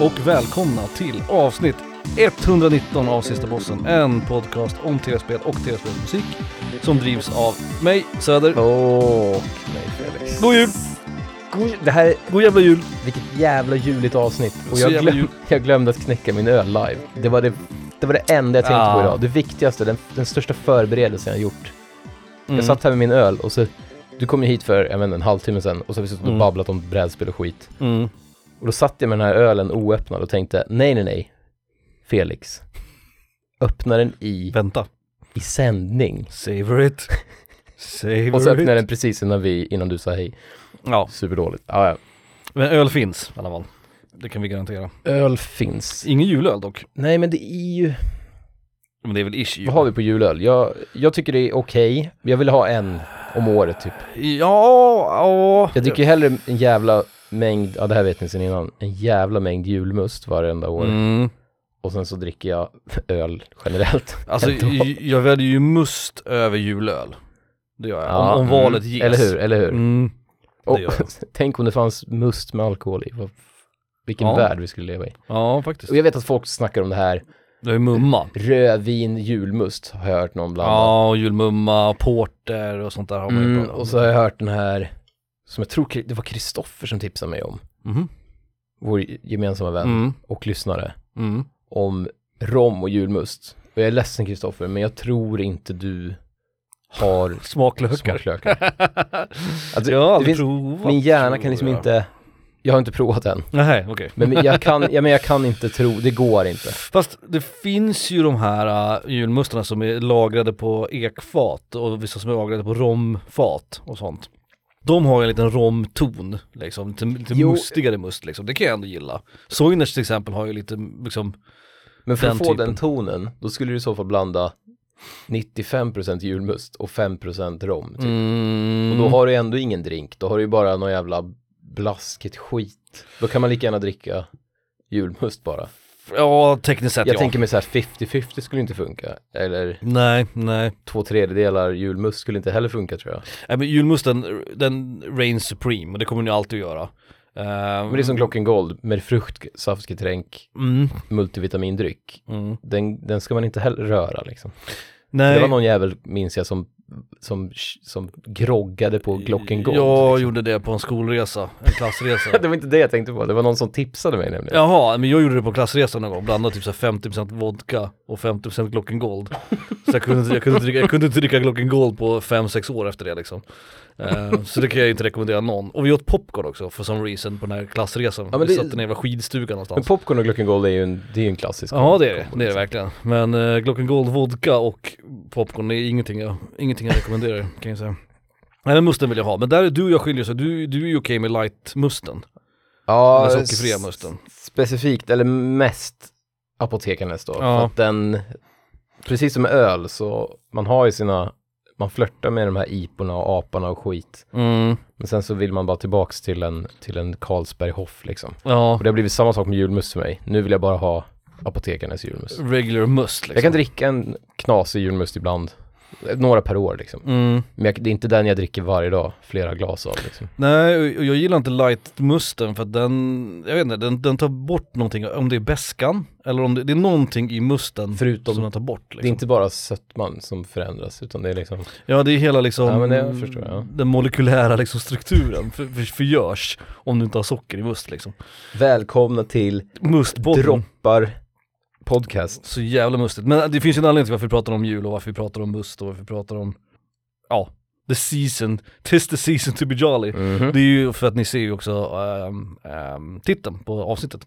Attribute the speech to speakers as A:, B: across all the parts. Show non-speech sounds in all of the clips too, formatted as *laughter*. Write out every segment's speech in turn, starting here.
A: och välkomna till avsnitt 119 av Sista Bossen. En podcast om tv-spel och tv-spelsmusik som drivs av mig, Söder.
B: Och mig Felix.
A: God jul!
B: God, det här,
A: God jävla jul!
B: vilket jävla juligt avsnitt. Och
A: Så
B: jag,
A: jävla
B: glöm,
A: jul.
B: jag glömde att knäcka min öl live. Det var det, det, var det enda jag tänkte
A: Ah.
B: på idag. Det viktigaste, den, den största förberedelsen jag gjort.
A: Mm.
B: Jag satt här med min öl och så, du kom ju hit för jag vet, inte, en halvtimme sedan och så har vi suttit och
A: Mm.
B: babblat om brädspel och skit.
A: Mm.
B: Och då satt jag med den här ölen oöppnad och tänkte, nej nej nej, Felix. Öppna den i,
A: Vänta.
B: i sändning.
A: Savor it. Savor
B: Och så öppnade jag
A: it.
B: den precis innan, vi, innan du sa hej.
A: Ja,
B: Superdåligt. Ja, ja.
A: men öl finns i alla fall. Det kan vi garantera.
B: Öl finns.
A: Ingen julöl dock.
B: Nej men det är ju,
A: Men det är väl ish jul.
B: vad har vi på julöl? Jag, jag tycker det är okej, jag vill ha en om året typ.
A: Ja, ja.
B: Jag dricker ju hellre en jävla mängd, ja det här vet ni sen innan, en jävla mängd julmust varenda år.
A: Mm.
B: Och sen så dricker jag öl generellt.
A: Alltså
B: Ändå.
A: j- jag väljer ju must över julöl. Det gör jag. *laughs*
B: Ja,
A: om, om
B: mm.
A: valet ges.
B: Eller hur, eller hur.
A: Mm.
B: och,
A: det gör jag.
B: *laughs* tänk om det fanns must med alkohol i. Vad- Vilken
A: Ja.
B: värld vi skulle leva i.
A: Ja, faktiskt.
B: Och jag vet att folk snackar om det här,
A: Det är mumma.
B: rödvin, julmust har jag hört någon blanda.
A: Ja, Mm. och julmumma, och porter och sånt där har man ju
B: mm,
A: pratat om.
B: och så har jag hört den här, som jag tror det var Kristoffer som tipsade mig om,
A: Mhm.
B: vår gemensamma vän.
A: Mm.
B: och lyssnare
A: Mm.
B: om rom och julmust. Och jag är ledsen Kristoffer, men jag tror inte du har
A: Smaklökar.
B: smaklökar.
A: *laughs*
B: Alltså,
A: jag har
B: det
A: aldrig
B: finns,
A: provat.
B: min hjärna kan liksom
A: tror jag.
B: inte, jag har inte provat än,
A: Nej, okej.
B: men jag kan, ja, men jag kan inte tro, det går inte.
A: Fast det finns ju de här uh, julmustarna som är lagrade på ekfat och vissa som är lagrade på romfat och sånt. De har en liten romton, liksom, lite, lite
B: Jo.
A: mustigare must liksom. Det kan jag ändå gilla. Soiners till exempel har ju lite liksom,
B: Men för
A: Den
B: att få
A: typen.
B: den tonen, då skulle du i så fall blanda 95% julmust och 5% rom. Typ. Och då
A: har...
B: har du ändå ingen drink, då har du ju bara någon jävla blaskigt skit. Då kan man lika gärna dricka julmust bara.
A: ja tekniskt sett
B: Jag
A: ja.
B: tänker mig så här 50-50 skulle inte funka. Eller
A: Nej, nej.
B: två tredjedelar julmust skulle inte heller funka tror jag.
A: Nej Äh, men julmusten, den reign supreme och det kommer ni alltid att göra. Eh,
B: Men det är som Glockengold med frukt, saftgetränk,
A: mm,
B: multivitamindryck.
A: mm.
B: Den, den ska man inte heller röra liksom. Det var
A: Nej.
B: någon jävel, minns jag, som, som, som groggade på Glockengold.
A: Jag
B: liksom.
A: gjorde det på en skolresa,
B: *laughs*
A: en klassresa.
B: Det var inte det jag tänkte på, det var någon som tipsade mig nämligen.
A: Jaha, men jag gjorde det på klassresan någon gång, blandade typ så här 50% vodka och 50% Glockengold. Så jag kunde, inte- jag kunde, inte dricka, jag kunde inte dricka Glockengold på 5-6 år efter det liksom. Eh, så det kan jag inte rekommendera någon. Och vi åt popcorn också for some reason på den här klassresan.
B: Ja, men
A: vi
B: det-
A: satt i en jävla skidstuga någonstans.
B: Men popcorn och Glockengold är ju en, det är ju en klassisk. liksom.
A: Ja det är det, det är det verkligen. Men eh, Glockengold, vodka och popcorn det är ingenting jag, ingenting jag rekommenderar kan jag säga. Nej men musten vill jag ha, men där är du och jag skiljer oss, du, du är ju okej med light-musten.
B: Ja,
A: Den sockerfria musten.
B: Specifikt, eller mest apotekarnes då.
A: Ja.
B: För att den, precis som med öl, så man har ju sina, man flörtar med de här iporna och aporna och skit.
A: Mm,
B: Men sen så vill man bara tillbaks till en, till en Carlsberg Hoff liksom.
A: ja,
B: Och det har blivit samma sak med julmust för mig. Nu vill jag bara ha apotekarnes julmust.
A: regular must liksom.
B: Jag kan dricka en knasig julmust ibland. Några per år liksom.
A: mm.
B: Men jag, det är inte den jag dricker varje dag, flera glas av liksom.
A: Nej, och- och jag gillar inte light-musten för att den, jag vet inte, den, den tar bort någonting, om det är beskan eller om det, det är någonting i musten
B: Förutom-
A: som den tar bort
B: Det är
A: liksom.
B: inte bara sötman som förändras, utan det är liksom
A: Ja det är hela liksom,
B: Ja, men det förstår jag, ja.
A: den molekylära liksom, strukturen för, för, förgörs om du inte har socker i must liksom.
B: välkomna till
A: Mustbotten.
B: droppar podcast.
A: Så jävla mustigt. Men det finns ju en anledning till varför vi pratar om jul och varför vi pratar om must och varför vi pratar om, ja, the season, *laughs* tis the season to be jolly.
B: Mm.
A: Det är ju för att ni ser ju också ehm, ehm, titeln på avsnittet.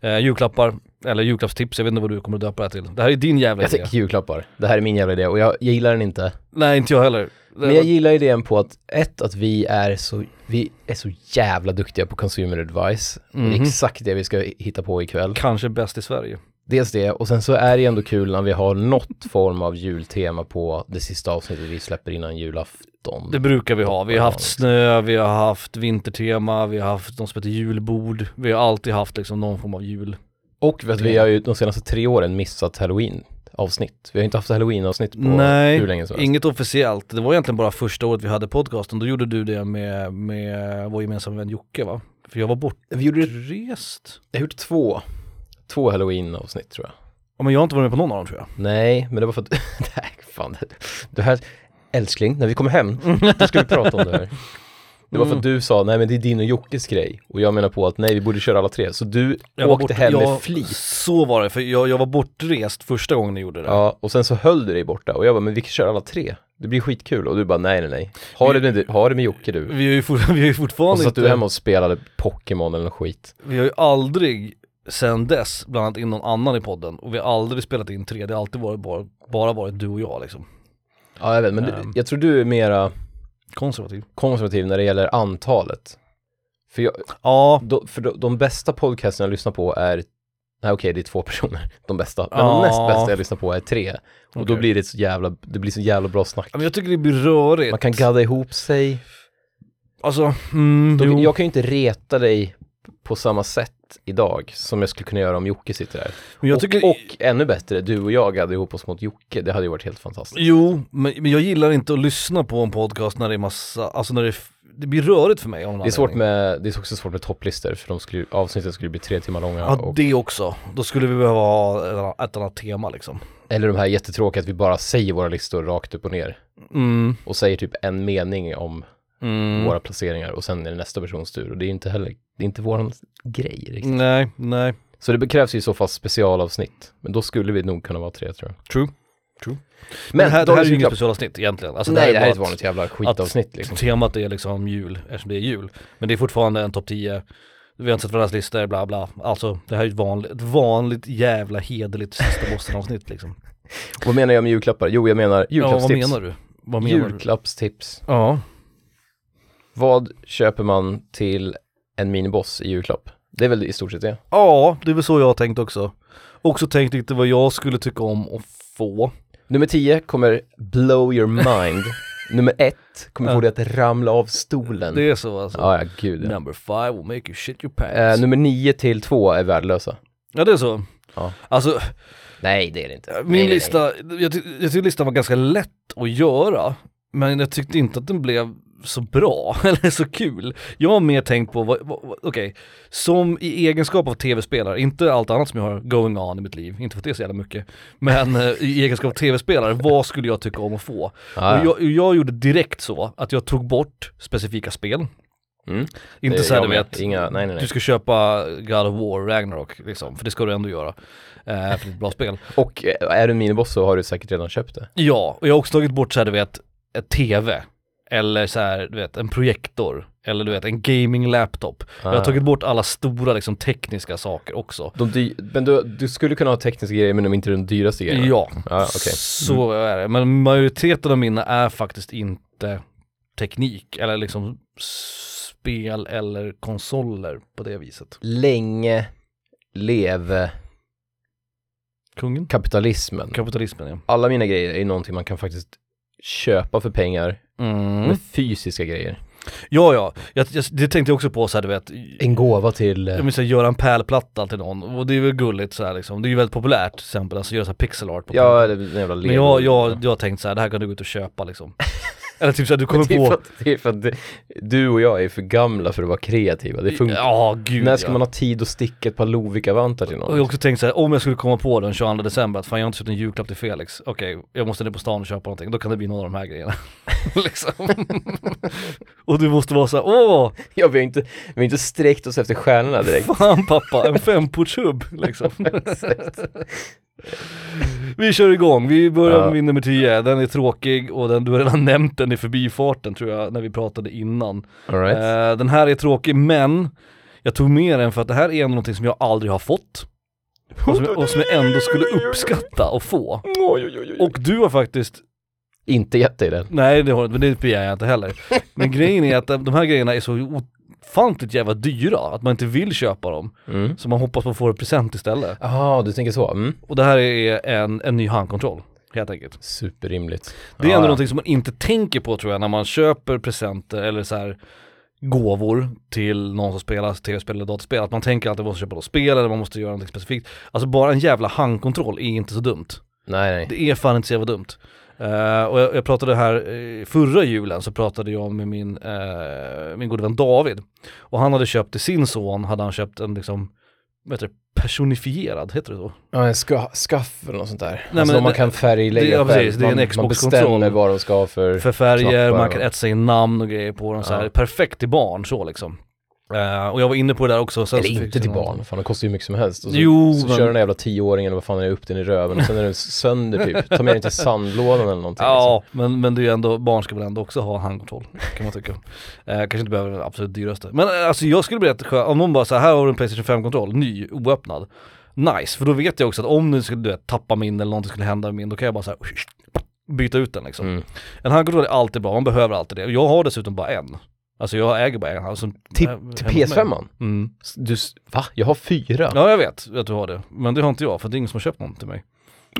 A: Eh, julklappar, eller julklappstips, jag vet inte vad du kommer att döpa det här till. Det här är din jävla
B: Jag
A: idé.
B: tänker julklappar. Det här är min jävla idé och jag, jag gillar den inte.
A: Nej inte jag heller.
B: Men jag gillar idén på att ett, att vi är så, vi är så jävla duktiga på consumer advice. Och Det är
A: Mhm.
B: exakt det vi ska hitta på ikväll.
A: Kanske bäst i Sverige.
B: Dels det, och sen så är det ändå kul när vi har något form av jultema på det sista avsnittet vi släpper innan julafton.
A: Det brukar vi ha. Vi har haft snö, vi har haft vintertema, vi har haft något som heter julbord. Vi har alltid haft liksom någon form av jul.
B: Och vet, vi har ju de senaste tre åren missat halloween-avsnitt. Vi har inte haft halloween-avsnitt på
A: Nej,
B: hur länge som helst.
A: Inget officiellt. Det var egentligen bara första året vi hade podcasten. Då gjorde du det med, med vår gemensamma vän Jocke va? För jag var
B: Vi gjorde,
A: bortrest.
B: jag har gjort två, två halloween-avsnitt tror jag.
A: Ja, men jag har inte varit med på någon av dem
B: *laughs*
A: tror jag.
B: Nej, men det var för att, *laughs* nej fan, det, det här, älskling, när vi kommer hem, då ska vi prata om det här. Det var för att
A: Mm.
B: du sa, nej men det är din och Jockes grej. Och jag menar på att nej, vi borde köra alla tre. Så du
A: jag var
B: åkte
A: bort-
B: hem med
A: jag-
B: flit.
A: Så var det, för jag, jag var bortrest första gången ni gjorde det.
B: Ja, och sen så höll du dig borta. Och jag bara, men vi kan köra alla tre. Det blir skitkul. Och du bara, nej nej nej. Ha det med, ha det med Jocke du.
A: Vi har ju, for, *laughs* vi har ju
B: Och så
A: fortfarande
B: satt
A: inte,
B: du hemma och spelade Pokémon eller något skit.
A: vi har ju aldrig sen dess blandat in någon annan i podden och vi har aldrig spelat in tre, det har alltid varit bara, bara varit du och jag liksom.
B: Ja, jag vet, men du,
A: Ehm.
B: jag tror du är mera
A: Konservativ.
B: konservativ när det gäller antalet. För, jag,
A: Ja,
B: då, för de, de bästa podcasten jag lyssnar på är, nej okej det är två personer, *laughs* de bästa. Men
A: Ja.
B: de näst bästa jag lyssnar på är tre. Och då
A: Okej.
B: blir det så jävla, det blir så jävla bra snack.
A: men jag tycker det blir rörigt.
B: Man kan gadda ihop sig.
A: Alltså, mm,
B: Då,
A: jo.
B: jag kan ju inte reta dig på samma sätt idag som jag skulle kunna göra om Jocke sitter här.
A: men jag tycker,
B: och, och ännu bättre, du och jag gaddade ihop oss mot Jocke, det hade ju varit helt fantastiskt.
A: jo,
B: Liksom.
A: men, men jag gillar inte att lyssna på en podcast när det är massa, alltså när det, är f- det blir rörigt för mig. Om
B: Det är, svårt med, det är också svårt med topplistor för de skulle, avsnitten skulle bli tre timmar långa.
A: Ja,
B: och,
A: det också. Då skulle vi behöva ha ett annat- ett annat tema liksom.
B: eller de här jättetråkiga att vi bara säger våra listor rakt upp och ner.
A: Mm,
B: Och säger typ en mening om
A: mm.
B: våra placeringar och sen är det nästa persons tur. Och det är ju inte heller, det är inte våran grej riktigt.
A: Nej, nej.
B: Så det krävs ju i så fall specialavsnitt. Men då skulle vi nog kunna vara tre tror jag.
A: True.
B: Men,
A: Men, här, det
B: då
A: här är
B: vi
A: ju inget
B: klart-
A: specialavsnitt egentligen. Alltså,
B: Nej, det här är
A: bara
B: ett vanligt jävla skitavsnitt liksom.
A: att Temat är liksom jul, eftersom det är jul. Men det är fortfarande en topp 10. Vi har inte sett varandras listor, bla bla. Alltså det här är ju ett vanligt, ett vanligt jävla hederligt sista bossen-avsnitt liksom.
B: Vad menar jag med julklappar? Jo, jag menar
A: Ja, vad
B: julklappstips.
A: menar du? Vad menar du?
B: julklappstips.
A: Ja.
B: Vad köper man till en miniboss i julklapp? Det är väl i stort sett det.
A: ja, det är väl så jag har tänkt också. Också tänkt lite vad jag skulle tycka om att få.
B: Nummer 10 kommer blow
A: *laughs*
B: your mind. Nummer 1 kommer
A: Ja.
B: få dig att ramla av stolen.
A: Det är så alltså.
B: Ja, ja, gud. ja.
A: Number five will make you shit your pants.
B: Eh, nummer 9 till 2 är värdelösa.
A: ja det är så.
B: Ja.
A: Alltså
B: Nej, det är det inte.
A: Min
B: nej, nej.
A: lista, Jag, ty- jag tyckte listan var ganska lätt att göra, men jag tyckte inte att den blev så bra *laughs* eller så kul. Jag har mer tänkt på, vad- vad- vad- okej, som i egenskap av tv-spelare, inte allt annat som jag har going on i mitt liv, inte för att det är så jävla mycket, men eh, i egenskap av tv-spelare, vad skulle jag tycka om att få?
B: Ja,
A: Och
B: Ah, ja.
A: jag, och jag gjorde direkt så att jag tog bort specifika spel.
B: Mm.
A: Inte
B: Det-
A: så här,
B: jag
A: du
B: med.
A: vet,
B: Inga- nej, nej, nej.
A: du ska köpa God of War, Ragnarok, liksom, för det ska du ändå göra. Eh, för det är ett bra spel.
B: Och eh, är du en miniboss så har du säkert redan köpt det.
A: Ja, och jag har också tagit bort så här, du vet, ett tv. Eller så här, du vet, en projektor. Eller du vet, en gaming laptop. Jag har
B: Ah.
A: tagit bort alla stora liksom tekniska saker också.
B: De dy- men du, du skulle kunna ha tekniska grejer men de är inte de dyraste grejerna.
A: Ja,
B: Ja, Ah, okej. Mm.
A: så är det. Men majoriteten av mina är faktiskt inte teknik eller liksom spel eller konsoler på det viset.
B: Länge leve
A: Kungen?
B: kapitalismen.
A: Kapitalismen ja.
B: alla mina grejer är ju någonting man kan faktiskt köpa för pengar
A: Mm.
B: med fysiska grejer.
A: Ja, ja. Jag, jag, det tänkte jag också på så här, du vet.
B: En gåva till... eh,
A: Jag minns att göra en pärlplatta till någon och det är väl gulligt så här liksom. Det är ju väldigt populärt till exempel, alltså göra så här pixel art på
B: Ja, eller en jävla
A: Men
B: lego.
A: jag,
B: *laughs*
A: jag, jag har tänkt så här, det här kan du gå ut och köpa liksom. *laughs* Eller typ såhär, du kommer
B: *laughs* det, är för
A: på...
B: att, det är för att du- du och jag är för gamla för att vara kreativa. Det funkar.
A: Ja, gud
B: När ska
A: ja.
B: man ha tid att sticka ett par Lovikka-vantar till
A: Och jag har
B: någon?
A: också tänkt såhär, om jag skulle komma på den 22 december att fan jag har inte köpt en julklapp till Felix, okej jag måste ner på stan och köpa någonting, då kan det bli någon av de här grejerna. *laughs*
B: *laughs*
A: liksom. och du måste vara såhär, åh,
B: *laughs* Ja, vi har inte, vi har inte sträckt oss efter
A: *laughs*
B: stjärnorna direkt.
A: fan pappa, en femportshubb
B: *laughs*
A: liksom. vi kör igång, vi börjar
B: Ja.
A: med min nummer 10, den är tråkig och den, du har redan nämnt den i förbifarten tror jag, när vi pratade innan.
B: All right.
A: Eh, den här är tråkig men jag tog med den för att det här är ändå någonting som jag aldrig har fått. Eh, Och som, och som jag ändå skulle uppskatta att få.
B: Oj, oj, oj, oj.
A: Och du har faktiskt,
B: Inte gett dig den.
A: nej det har du inte, men det begär jag inte heller. Men grejen är att de här grejerna är så ofantligt jävla dyra att man inte vill köpa dem.
B: Mm.
A: Så man hoppas på att få en present istället.
B: Jaha, du tänker så. Mm.
A: Och det här är en, en ny handkontroll, helt enkelt.
B: Superrimligt.
A: Det är
B: Ja,
A: ändå
B: ja.
A: någonting som man inte tänker på tror jag när man köper presenter eller så här gåvor till någon som spelar tv-spel eller dataspel. Att man tänker alltid att man måste köpa något spel eller man måste göra någonting specifikt. Alltså bara en jävla handkontroll är inte så dumt.
B: Nej, nej.
A: Det är fan inte så jävla dumt. Eh, och jag, jag pratade här eh, förra julen så pratade jag med min, eh, min gode vän David. Och han hade köpt till sin son, hade han köpt en liksom, vad heter det, personifierad, heter det så?
B: Ja, en ska, skaff eller något sånt där. Nej,
A: men
B: alltså men, man
A: det-
B: kan färglägga
A: det- ja,
B: själv.
A: precis, det är en
B: man, man
A: Xbox-kontroll.
B: bestämmer vad de ska ha för...
A: För färger,
B: Knappar
A: man kan
B: och-
A: äta sig namn och grejer på dem så här.
B: Ja.
A: Perfekt till barn så liksom. Eh, och jag var inne på det där också. Sen
B: eller
A: så fick
B: inte
A: jag
B: till
A: någon-
B: barn, fan de kostar ju mycket som helst. Och så,
A: Jo,
B: så
A: men-
B: kör den där jävla tioåringen eller vad fan är det, upp den i röven och sen är den sönder typ. Ta med den till sandlådan eller någonting. liksom.
A: Ja, Alltså. men, men det är ju ändå, barn ska väl ändå också ha handkontroll kan man tycka. *laughs* eh, kanske inte behöver den absolut dyraste. Men eh, alltså jag skulle bli jätteskön, om någon bara så här, här har du en Playstation 5-kontroll, ny, oöppnad. Nice, för då vet jag också att om du skulle du vet, tappa min eller någonting skulle hända med min, då kan jag bara så här byta ut den liksom.
B: Mm.
A: En handkontroll är alltid bra, man behöver alltid det. Jag har dessutom bara en. Alltså jag äger bara en. Alltså,
B: Till,
A: eh,
B: till
A: hemma hos mig.
B: PS5?
A: Mm.
B: Du, s- va? Jag har fyra?
A: Ja jag vet att du har det, men det har inte jag för det är ingen som har köpt någon till mig.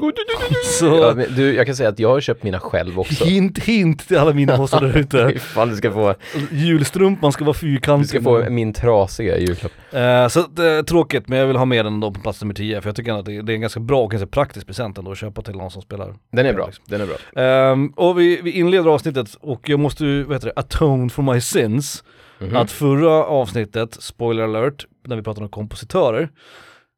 B: Ja,
A: *laughs* Så,
B: men du, jag kan säga att jag har köpt mina själv också.
A: hint hint till alla mina bossar där
B: *laughs*
A: ute.
B: Ifall du ska få,
A: Julstrumpan ska vara
B: du
A: fyrkantig.
B: ska få min trasiga julklapp.
A: Eh, så att, eh, tråkigt, men jag vill ha med den då på plats nummer 10 för jag tycker ändå att det, det är en ganska bra och ganska praktisk present ändå att köpa till någon som spelar.
B: Den är bra, den är bra.
A: Ehm, och vi, vi inleder avsnittet och jag måste ju, vad heter det, atone for my sins.
B: Mhm.
A: Att förra avsnittet, spoiler alert, när vi pratade om kompositörer,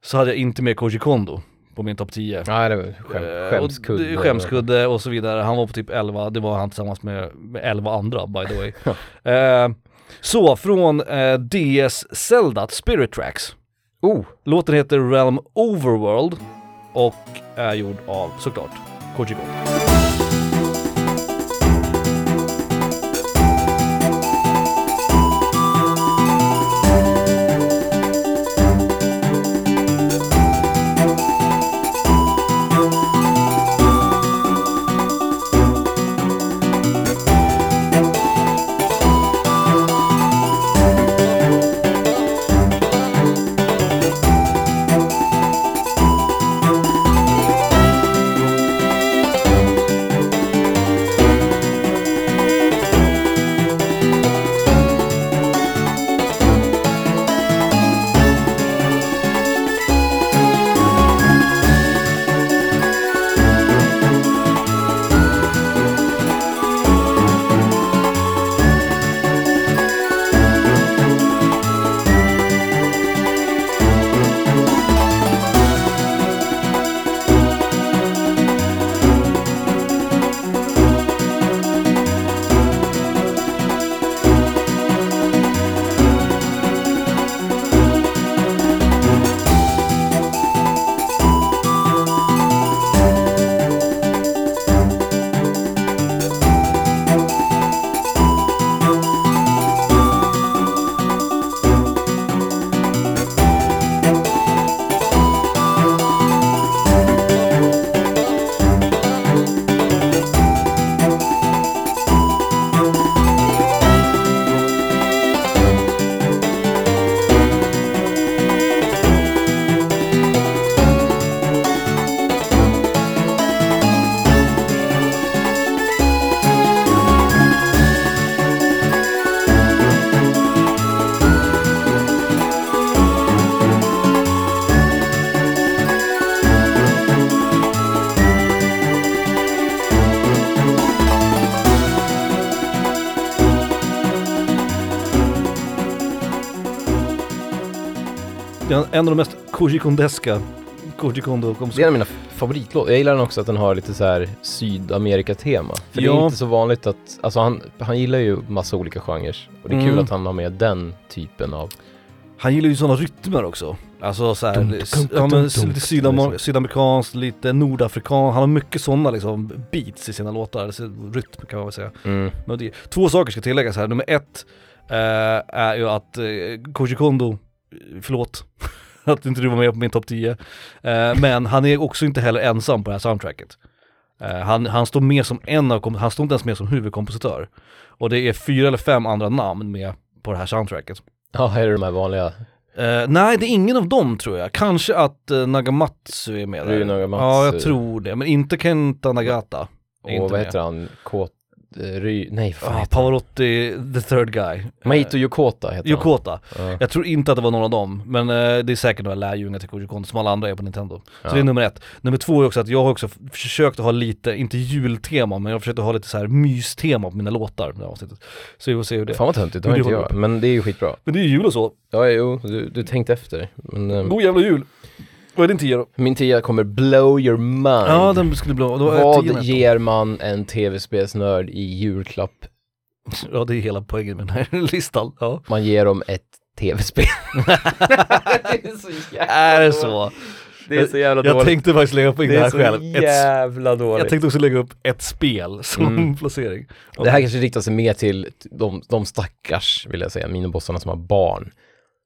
A: så hade jag inte med Koji Kondo på min topp 10.
B: Ja, det var
A: Eh,
B: skäm,
A: och
B: skämskudde.
A: det- Skämskudde och så vidare. Han var på typ 11, det var han tillsammans med, med 11 andra by the way.
B: *laughs*
A: eh, så från eh, DS Zelda Spirit Tracks.
B: Oh,
A: Låten heter Realm Overworld och är gjord av såklart Koji Kondo. Det är en av de mest Koji Kondeska Koji Kondo
B: det är en
A: kompositörer.
B: av mina f- favoritlåtar. Jag gillar den också att den har lite så här Sydamerika-tema. För det är
A: Ja.
B: inte så vanligt att, alltså han, han gillar ju massa olika genrer. Och det är kul
A: Mm.
B: att han har med den typen av,
A: Han gillar ju sådana rytmer också. Alltså såhär,
B: Dunk, dunk,
A: ja, men,
B: dunk,
A: s- lite
B: dunk,
A: sydamer-
B: liksom.
A: sydamerikanskt, lite nordafrikan. Han har mycket sådana liksom beats i sina låtar, alltså, rytm kan man väl säga. melodi. Två saker ska tilläggas här. Nummer ett eh, är ju att eh, Koji Kondo, eh, förlåt *laughs* att inte du var med på min topp 10, eh, men han är också inte heller ensam på det här soundtracket. Eh, han, han står med som en av, kom- han står inte ens med som huvudkompositör. Och det är fyra eller fem andra namn med på det här soundtracket.
B: ja, här är de här vanliga.
A: Eh, nej, det är ingen av dem tror jag. Kanske att eh, Nagamatsu är med där.
B: Ryu Nagamatsu.
A: Ja, jag tror det. Men inte Kenta Nagata. är
B: Och
A: inte
B: vad
A: med.
B: heter han? K- Ry... Nej, vad fan
A: Ah, eh,
B: heter
A: Pavarotti, the third guy.
B: han? Mahito Yokota heter han.
A: Yokota.
B: Ja.
A: Jag tror inte att det var någon av dem, men eh, det är säkert några lärjungar till Koji Kondo som alla andra är på Nintendo. Så
B: Ja.
A: det är nummer ett. Nummer två är också att jag har också f- försökt att ha lite, inte jultema, men jag har försökt att ha lite så här mystema på mina låtar. Det här avsnittet. Så vi får se hur det
B: Fan vad töntigt, det har
A: Men
B: inte
A: det
B: jag.
A: håller
B: Men det är ju skitbra.
A: Men det är ju jul och så.
B: Ja, jo, du, du tänkte efter. Men, ehm,
A: God jävla jul! Vad är din tia då?
B: min tia kommer blow your mind.
A: Ja, den skulle bli... Då är tian
B: vad
A: ett.
B: ger man en tv-spelsnörd i julklapp?
A: Ja, det är hela poängen med den här *laughs* listan. Ja.
B: Man ger dem ett
A: *laughs*
B: tv-spel. det är så jävla
A: Är det
B: dåligt.
A: så?
B: Det är så jävla
A: Jag
B: dåligt.
A: tänkte faktiskt lägga upp in det,
B: Det är
A: här
B: så
A: själv. Ett, sp-
B: jävla dåligt.
A: jag tänkte också lägga upp ett spel som *laughs*
B: Mm.
A: placering.
B: Det här kanske riktar sig mer till de, de stackars, vill jag säga, minibossarna som har barn.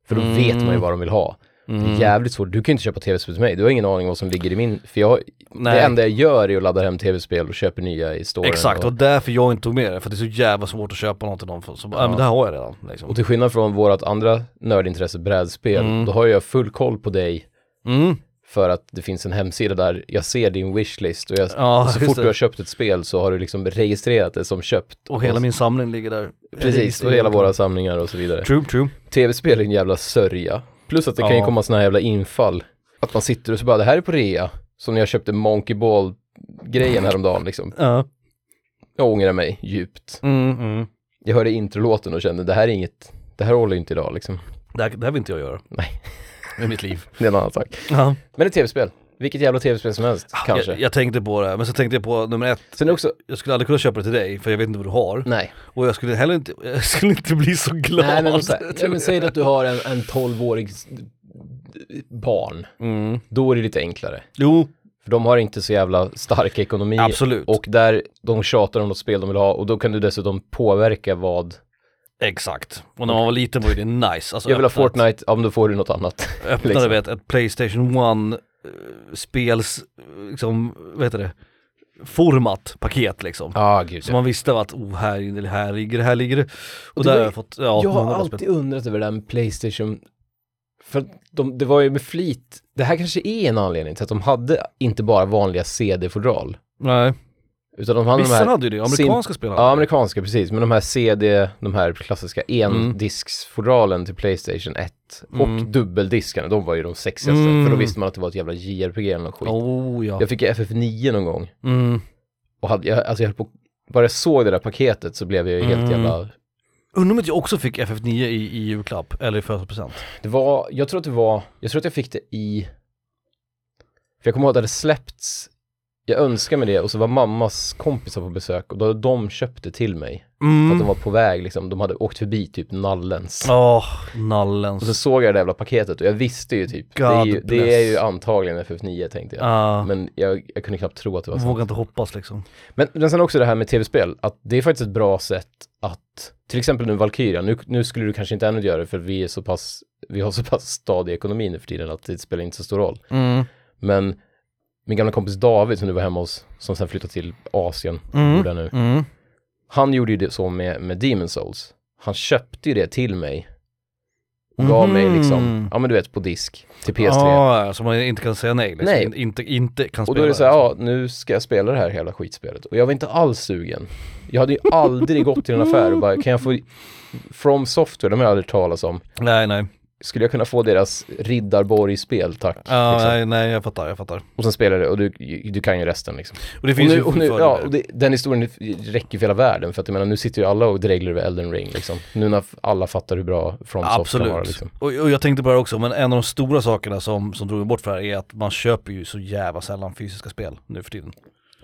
B: För då vet man ju vad de vill ha. Det är
A: Mm.
B: jävligt svårt. Du kan ju inte köpa tv-spel till mig. Du har ingen aning om vad som ligger i min. För jag,
A: Nej.
B: det enda jag gör är att ladda hem tv-spel och köper nya i storen.
A: Exakt, och
B: Och,
A: därför jag inte tog med det, för det är så jävla svårt att köpa något till någon för- som, ja. men det här har jag redan liksom.
B: och till skillnad från vårt andra nördintresse, brädspel, då har jag full koll på dig
A: Mm.
B: för att det finns en hemsida där jag ser din wishlist och jag,
A: Ja,
B: så
A: just
B: fort
A: det.
B: du har köpt ett spel så har du liksom registrerat det som köpt.
A: Och hela min samling ligger där.
B: Precis, och hela våra samlingar och så vidare.
A: True, true.
B: Tv-spel är en jävla sörja. Plus att det kan ju
A: Ja.
B: komma såna här jävla infall. Att man sitter och så bara, det här är på rea. Som när jag köpte Monkey Ball-grejen häromdagen liksom.
A: Ja.
B: Jag ångrar mig djupt.
A: Mm, mm.
B: Jag hörde introlåten och kände, det här är inget, det här håller ju inte idag liksom.
A: Det, här, det här vill inte jag göra
B: Nej,
A: med mitt
B: *laughs*
A: liv.
B: det är en annan sak.
A: Ja.
B: Men ett tv-spel. Vilket jävla tv-spel som helst, kanske.
A: Jag, jag tänkte på det, här, men så tänkte jag på nummer ett,
B: Sen är också,
A: jag skulle aldrig kunna köpa det till dig för jag vet inte vad du har.
B: nej.
A: Och jag skulle heller inte, *laughs* jag skulle inte bli så glad.
B: Nej men, så här, nej, men säg att du har en, en 12-årig s- barn.
A: mm.
B: Då är det lite enklare.
A: Jo,
B: För de har inte så jävla stark ekonomi.
A: absolut.
B: Och där de tjatar om något spel de vill ha och då kan du dessutom påverka vad.
A: Exakt. Och när man var liten var ju det nice. Alltså,
B: Jag vill ha
A: öppna ett-
B: Fortnite, ja men då får du något annat.
A: öppnade
B: Liksom.
A: vet, ett Playstation 1 eh, spels, eh, liksom, vad heter det, format, paket liksom.
B: Ja, gud.
A: Så man visste att, oh här, ligger det, här ligger det, här ligger det. Och,
B: det
A: där har
B: var ju-
A: jag fått, ja,
B: jag har
A: många bra
B: alltid
A: spel.
B: undrat över den Playstation. För att de, det var ju med flit, det här kanske är en anledning till att de hade inte bara vanliga CD-fodral.
A: Nej,
B: Utan de hade de
A: vissa
B: här,
A: hade ju det, amerikanska spel hade
B: ja
A: det.
B: amerikanska precis, men de här CD, de här klassiska
A: Mm.
B: endisksfodralen till Playstation 1 och
A: Mm.
B: dubbeldiskarna, de var ju de sexigaste.
A: Mm.
B: För då visste man att det var ett jävla JRPG eller något skit.
A: Oh ja.
B: Jag fick ju FF9 någon gång
A: Mm.
B: och hade, jag, alltså jag höll på, bara jag såg det där paketet så blev jag ju helt
A: Mm.
B: jävla,
A: Undrar om inte jag också fick FF9 i, i julklapp, eller i födelsedagspresent.
B: det var, jag tror att det var, jag tror att jag fick det i, för jag kommer ihåg att det hade släppts, jag önskade mig det och så var mammas kompisar på besök och då hade de köpt det till mig. För att de
A: Mm.
B: var på väg liksom, de hade åkt förbi typ Nallens.
A: Åh,
B: Och så
A: nallens.
B: såg jag det där jävla paketet och jag visste ju typ, det är ju,
A: God
B: det är ju
A: bless.
B: antagligen FF9 tänkte jag.
A: Ah,
B: Men jag, jag kunde knappt tro att det var så.
A: vågar inte hoppas liksom.
B: Men, men sen också det här med tv-spel, att det är faktiskt ett bra sätt att, till exempel nu Valkyria, nu, nu skulle du kanske inte ännu göra det för vi är så pass, vi har så pass stadig ekonomi nu för tiden att det spelar inte så stor roll.
A: Mm.
B: Men min gamla kompis David som du var hemma hos, som sen flyttade till Asien,
A: Mm.
B: bor där nu.
A: Mm.
B: Han gjorde ju det så med, med Demon Souls. Han köpte ju det till mig och gav mig liksom,
A: Mhm.
B: ja men du vet på disk till PS3.
A: Ja, ah, som man inte kan säga nej. Liksom.
B: Nej.
A: In, inte, inte kan
B: Och
A: spela. liksom.
B: då är det så här, ja nu ska jag spela det här hela skitspelet. Och jag var inte alls sugen. Jag hade ju aldrig gått till en affär och bara, kan jag få From Software, de har jag aldrig talas om.
A: Nej, nej.
B: Skulle jag kunna få deras Riddarborg-spel, tack.
A: Ja,
B: liksom.
A: nej, nej, jag fattar, jag fattar.
B: Och sen spelar jag det och du, du kan ju resten liksom.
A: Och det
B: Och
A: finns
B: nu,
A: ju
B: och nu,
A: fördelar.
B: ja, och det, den historien räcker för hela världen. För att jag menar, nu sitter ju alla och dreglar över Elden Ring liksom. Nu när alla fattar hur bra From Software
A: Absolut.
B: var liksom.
A: och, och jag tänkte på det här också, men en av de stora sakerna som, som drog mig bort för det här är att man köper ju så jävla sällan fysiska spel nu för tiden.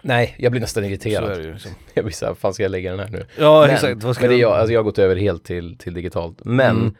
B: Nej, jag blir nästan
A: Så är
B: irriterad.
A: det ju liksom.
B: Jag blir såhär, fan ska jag lägga den här nu?
A: Ja,
B: men,
A: exakt. Vad ska
B: men det är jag,
A: jag...
B: alltså jag har gått över helt till, till digitalt. Men
A: Mm.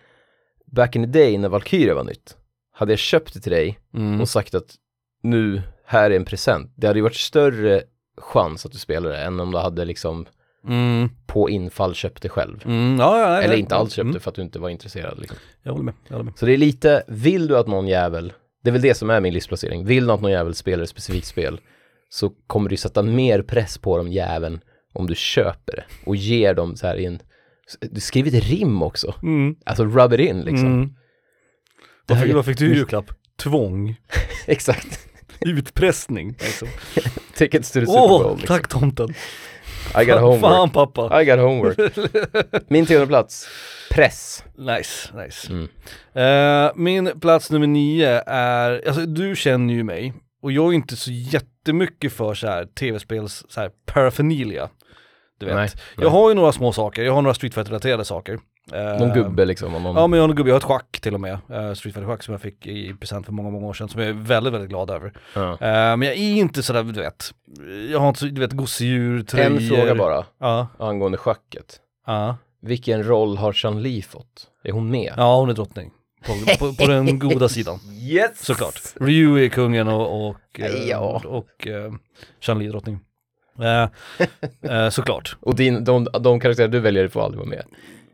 B: back in the day när Valkyria var nytt, hade jag köpt det till dig
A: Mm.
B: och sagt att nu, här är en present. Det hade ju varit större chans att du spelade det än om du hade liksom
A: Mm.
B: på infall köpt det själv.
A: Mm. Ja, ja, nej,
B: Eller
A: nej.
B: inte alls köpt
A: Mm.
B: det för att du inte var intresserad. Liksom.
A: Jag håller med. Jag håller med.
B: Så det är lite, vill du att någon jävel, det är väl det som är min livsplacering, vill du att någon jävel spelar ett specifikt spel så kommer du sätta mer press på dem jäveln om du köper det och ger dem så här i en, du skriver ett rim också,
A: Mm.
B: alltså rub it in liksom.
A: Mm.
B: Det
A: Vad
B: här
A: fick,
B: är-
A: vad fick du i julklapp? Tvång,
B: *laughs* Exakt,
A: utpressning. liksom.
B: *laughs* tickets to the Super
A: Åh,
B: Bowl. Liksom.
A: tack tomten.
B: I got homework.
A: Fan pappa.
B: I got homework.
A: *laughs*
B: Min tionde plats, press.
A: Nice, nice.
B: Mm.
A: Eh, min plats nummer nio är, alltså du känner ju mig och jag är inte så jättemycket för så här tv-spels så här paraphernalia. Du vet.
B: Nej, nej.
A: Jag har ju några små saker, jag har några Street fighter relaterade saker. Eh,
B: Någon gubbe liksom. Och någon...
A: Ja men jag har en gubbe, jag har ett schack till och med. Uh, Street fighter schack som jag fick i present för många, många år sedan som jag är väldigt, väldigt glad över.
B: Ja.
A: Eh, men jag är inte sådär, du vet, jag har inte så, du vet, gosedjur, tröjor.
B: En fråga bara,
A: Ja,
B: angående schacket.
A: ja.
B: Vilken roll har Jean-Li fått? Är hon med?
A: Ja hon är drottning. På, på, på den goda sidan.
B: Yes!
A: Såklart. Ryu är kungen och, och, eh,
B: Ja.
A: och eh, Chan-Li är drottning. Eh, eh, såklart.
B: Och din, de, de karaktärer du väljer får aldrig vara med.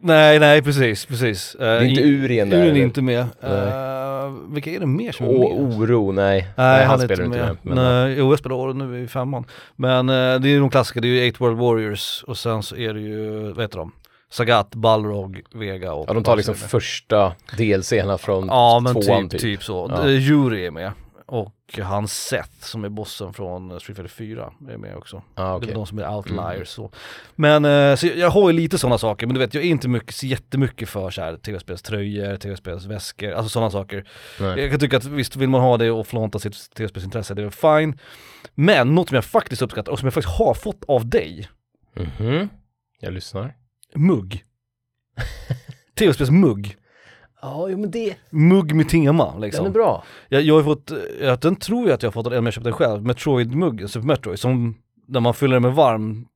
A: Nej, nej, precis, precis. Eh,
B: Det är inte
A: i-
B: Urien där.
A: Uren är
B: eller?
A: inte med.
B: Nej.
A: Eh, vilka är det mer som är
B: Och
A: med?
B: Oro, nej.
A: Nej, han, är
B: spelar
A: inte med.
B: Men,
A: Nej, jo, jag spelar Oro nu i femman. Men eh, det är ju de klassiska, det är ju Eight World Warriors och sen så är det ju, vad heter de? Sagat, Balrog, Vega och...
B: Ja, de tar liksom
A: Balrog.
B: första delscenerna från
A: Ja men
B: tvåan
A: typ,
B: typ.
A: typ. så.
B: Ja.
A: Ja. Yuri är med. Och han Seth som är bossen från eh, Street Fighter 4 är med också.
B: Ah,
A: Det
B: okej. Mm.
A: är de som är outliers så. Men eh, så jag- jag har ju lite sådana saker, men du vet jag är inte mycket, så jättemycket för så här tv-spelströjor, tv-spelsväskor, alltså sådana saker.
B: Nej.
A: Jag kan tycka att visst vill man ha det och flånta sitt tv-spelsintresse, det är väl fine. Men något som jag faktiskt uppskattar och som jag faktiskt har fått av dig,
B: Mhm. Jag lyssnar. *laughs*
A: mugg. Tv-spelsmugg.
B: Ja, jo men det,
A: Mugg med tema liksom.
B: den är bra.
A: Jag, jag har ju fått, eh, den tror jag att jag har fått, den, eller om jag köpte den själv, Metroid-muggen, Super Metroid, som när man fyller den med varm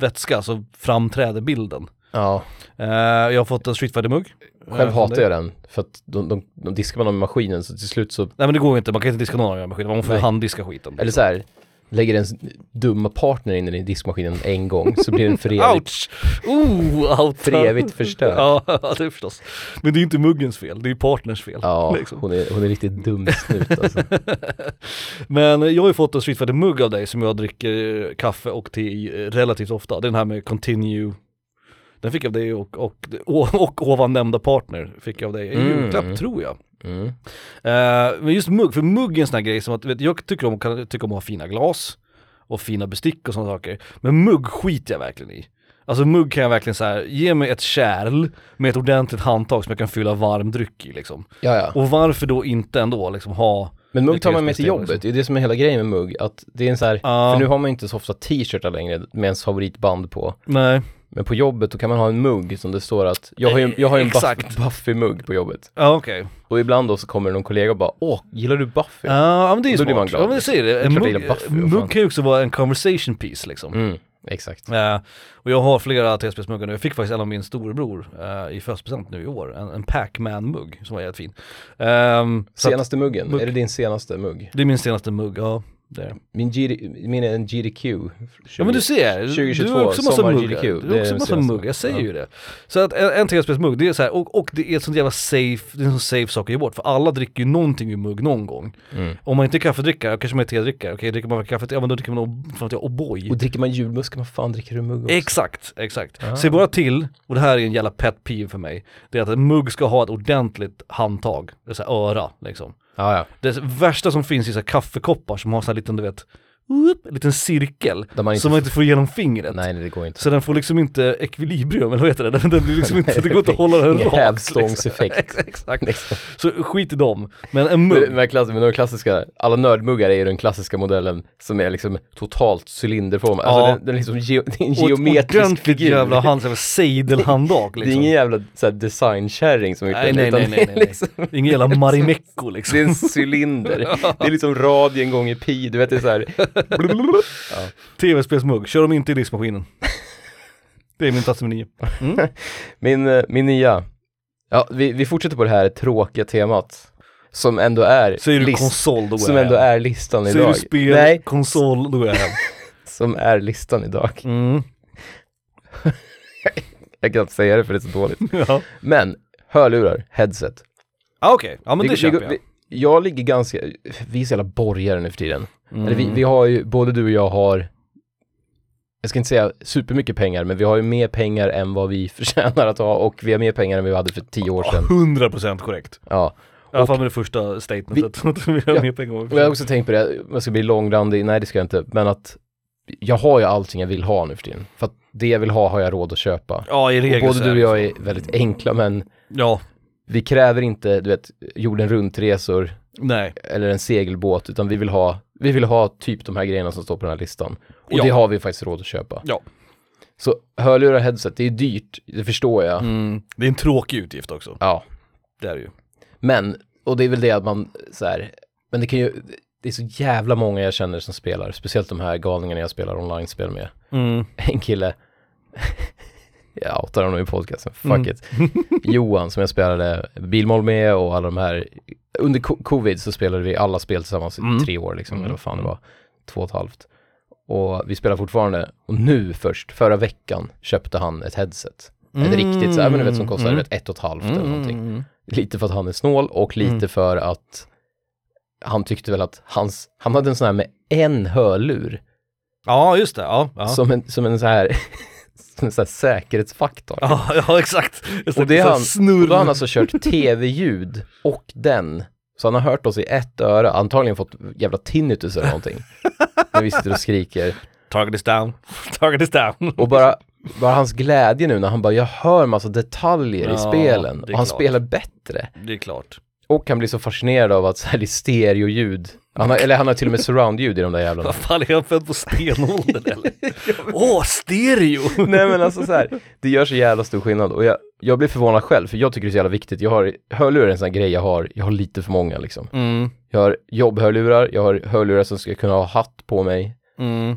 A: vätska så framträder bilden.
B: Ja,
A: Eh, jag har fått en Street Fighter-mugg.
B: själv
A: Eh, från
B: hatar
A: dig.
B: jag den. För att de, de, de diskar man dem i maskinen så till slut så,
A: Nej men det går ju inte, man kan inte diska någon av de här skiten, man får
B: Nej.
A: ju handdiska skiten. liksom.
B: eller så här, lägger ens dumma partner in den i diskmaskinen en gång så blir den för
A: *laughs*
B: evigt,
A: Ouch! Oh, out!
B: för evigt förstörd.
A: *laughs* Ja, det är förstås. Men det är ju inte muggens fel, det är ju partners fel.
B: Ja,
A: liksom.
B: hon är, hon är riktigt dum
A: *laughs*
B: snut alltså.
A: Men jag har ju fått en Street Fighter-mugg av dig som jag dricker kaffe och te i eh, relativt ofta. Den här med Continue. Den fick jag av dig och, och, *laughs* och, och ovan nämnda partner fick jag av dig i
B: Mm.
A: julklapp tror jag.
B: Mm.
A: Eh, men just mugg, för mugg är en sån här grej som att, vet, jag tycker om, kan, tycker om att ha fina glas och fina bestick och sådana saker. Men mugg skiter jag verkligen i. Alltså mugg kan jag verkligen så här, ge mig ett kärl med ett ordentligt handtag som jag kan fylla varm dryck i liksom.
B: Ja, ja.
A: Och varför då inte ändå liksom ha
B: Men mugg
A: Ett
B: tar man med till
A: USB-stil,
B: jobbet,
A: liksom.
B: det är det som är hela grejen med mugg. Att det är en så här,
A: Ja.
B: för nu har man ju inte så ofta t-shirtar längre med ens favoritband på.
A: Nej,
B: Men på jobbet då kan man ha en mugg som det står att, jag har ju, jag har ju en buff,
A: Exakt.
B: Buffy-mugg på jobbet.
A: ja okej.
B: Och ibland då så kommer någon kollega och bara, åh, gillar du Buffy?
A: Ja, men det är ju
B: Då blir man
A: smart.
B: glad,
A: Ja, men jag
B: liksom.
A: säger det. En
B: klart jag
A: mugg,
B: gillar Buffy, vad fan.
A: mugg kan ju också vara en conversation piece liksom.
B: Mm, exakt.
A: Eh, och jag har flera TSB-muggar nu. Jag fick faktiskt en av min storebror eh, i födelsedagspresent nu i år. En, en Pac-Man-mugg som var jättefin. Ehm, så att,
B: Senaste muggen,
A: mugg.
B: är det din senaste mugg?
A: det är min senaste mugg, ja. Det är. det.
B: Min, GD, min är en GDQ. 20.
A: Ja men du ser,
B: 2022,
A: du har också massa
B: sommar
A: muggar.
B: GDQ.
A: Du
B: Det är
A: har också
B: den
A: massa
B: senaste.
A: muggar, jag säger
B: Ja.
A: ju det. Så att en, en TSB-mugg, det är så här, och, och det är ett sånt jävla safe, det är en sån safe sak att ge bort. För alla dricker ju någonting ur mugg någon gång.
B: Mm.
A: Om man inte är kaffedrickare, ja, kanske man är tedrickare, okej dricker man kaffe, ja men då dricker man O'boy.
B: Och dricker man julmust kan man fan dricka ur mugg också. Ah.
A: Exakt, exakt. Se bara till, och det här är en jävla pet peeve för mig, det är att en mugg ska ha ett ordentligt handtag, det är så här öra liksom.
B: ja, ja.
A: Det värsta som finns är så här kaffekoppar som har så här liten, du vet, whoop, en liten cirkel
B: Där man inte
A: som man inte får igenom fingret.
B: Nej, nej det går inte.
A: Så den får liksom inte ekvilibrium, eller vad heter det? Den, den blir
B: *laughs*
A: liksom inte, *laughs* det går inte att hålla den
B: Ingen
A: rakt. liksom.
B: hävstångseffekt.
A: *laughs* Ex- Exakt. Så skit i dem. Men en
B: Liksom. Men
A: mugg,
B: de här klass- men de klassiska, alla nördmuggar är ju den klassiska modellen som är liksom totalt cylinderformad. Alltså
A: Ja.
B: den, den är liksom ge, *laughs* det är en
A: och ett
B: geometrisk
A: ordentligt
B: figur.
A: jävla hand, så här sejdelhandtag
B: Det är
A: liksom.
B: ingen jävla så här, designkärring som har gjort
A: Nej,
B: den,
A: nej,
B: utan
A: nej, nej,
B: det är
A: nej.
B: liksom,
A: Ingen jävla marimekko liksom.
B: det är en
A: *laughs*
B: cylinder. det är liksom radien gånger pi, du vet det är så här. ja.
A: Tv-spelsmugg, kör dem inte i diskmaskinen. Det är min plats nummer nio.
B: min, eh, min nya, ja vi, vi fortsätter på det här tråkiga temat. Som ändå är,
A: Säger du
B: list-
A: konsol, då går
B: som
A: jag
B: ändå
A: hem.
B: är listan
A: Säger
B: idag.
A: du spel,
B: Nej,
A: konsol, då går jag
B: *laughs*
A: hem.
B: som är listan idag. *laughs*
A: Mm.
B: Jag kan inte säga det för det är så dåligt.
A: Ja.
B: Men hörlurar, headset.
A: Ah, Okej, ja men det köper jag.
B: Vi, jag ligger ganska, vi är så jävla borgare nu för tiden.
A: Mm.
B: Eller vi, vi har ju, både du och jag har, jag ska inte säga supermycket pengar, men vi har ju mer pengar än vad vi *laughs* förtjänar att ha och vi har mer pengar än vi hade för tio år sedan.
A: 100% Mm. korrekt.
B: Ja.
A: I alla fall med det första *laughs* statementet. Vi, vi har
B: Ja.
A: mer pengar.
B: Och jag har också tänkt på det, jag ska bli långrandig, nej det ska jag inte, men att jag har ju allting jag vill ha nu för tiden. För att det jag vill ha har jag råd att köpa.
A: Ja i regel
B: Och både
A: så är
B: du och
A: det
B: jag
A: så.
B: är väldigt enkla men
A: Ja,
B: vi kräver inte, du vet, jorden runt-resor
A: nej.
B: eller en segelbåt utan vi vill ha, vi vill ha typ de här grejerna som står på den här listan. Och
A: Ja.
B: det har vi faktiskt råd att köpa.
A: Ja.
B: Så hörlurar och headset, det är dyrt, det förstår jag.
A: Mm. Det är en tråkig utgift också.
B: Ja,
A: Det är det ju.
B: men, och det är väl det att man så här, men det kan ju, det är så jävla många jag känner som spelar, speciellt de här galningarna jag spelar online-spel med. en kille, *laughs* jag outar honom i podcasten, fuck
A: Mm.
B: it. Johan som jag spelade bilmål med och alla de här, under co- covid så spelade vi alla spel tillsammans i
A: Mm.
B: tre år liksom,
A: Mm.
B: eller vad fan det var, två och ett halvt. Och vi spelar fortfarande, och nu först, förra veckan, köpte han ett headset. Ett riktigt så här, men du vet som kostar
A: Mm.
B: vet, ett och ett halvt eller
A: Mm.
B: någonting.
A: Mm.
B: Lite för att han är snål och lite
A: Mm.
B: för att han tyckte väl att hans, han hade en sån här med en hörlur
A: Ja, just det. Ja, ja.
B: som en, som en så här, *laughs* som en så här säkerhetsfaktor.
A: Ja, *laughs* ja exakt. Just
B: Och det är
A: så här
B: han-
A: snurr.
B: Och då har han alltså kört tv-ljud och den. Så han har hört oss i ett öra, antagligen fått jävla tinnitus eller någonting. När vi sitter och skriker.
A: Target is down. *laughs* Target is down.
B: Och bara, bara hans glädje nu när han bara, jag hör massa detaljer
A: Ja,
B: i spelen.
A: det är
B: Och han
A: klart.
B: spelar bättre.
A: Det är klart.
B: Och han blir så fascinerad av att så här, det är stereoljud. Han har, eller han har till och med surround-ljud i de där jävlarna.
A: Vad fan, är jag född på *laughs* stenåldern eller? Åh, stereo!
B: *laughs* Nej men alltså så här, det gör så jävla stor skillnad och jag, jag blir förvånad själv för jag tycker det är så jävla viktigt. Jag har, hörlurar är en sån här grej jag har, jag har lite för många liksom.
A: Mm,
B: Jag har jobbhörlurar, jag har hörlurar som ska kunna ha hatt på mig
A: mm,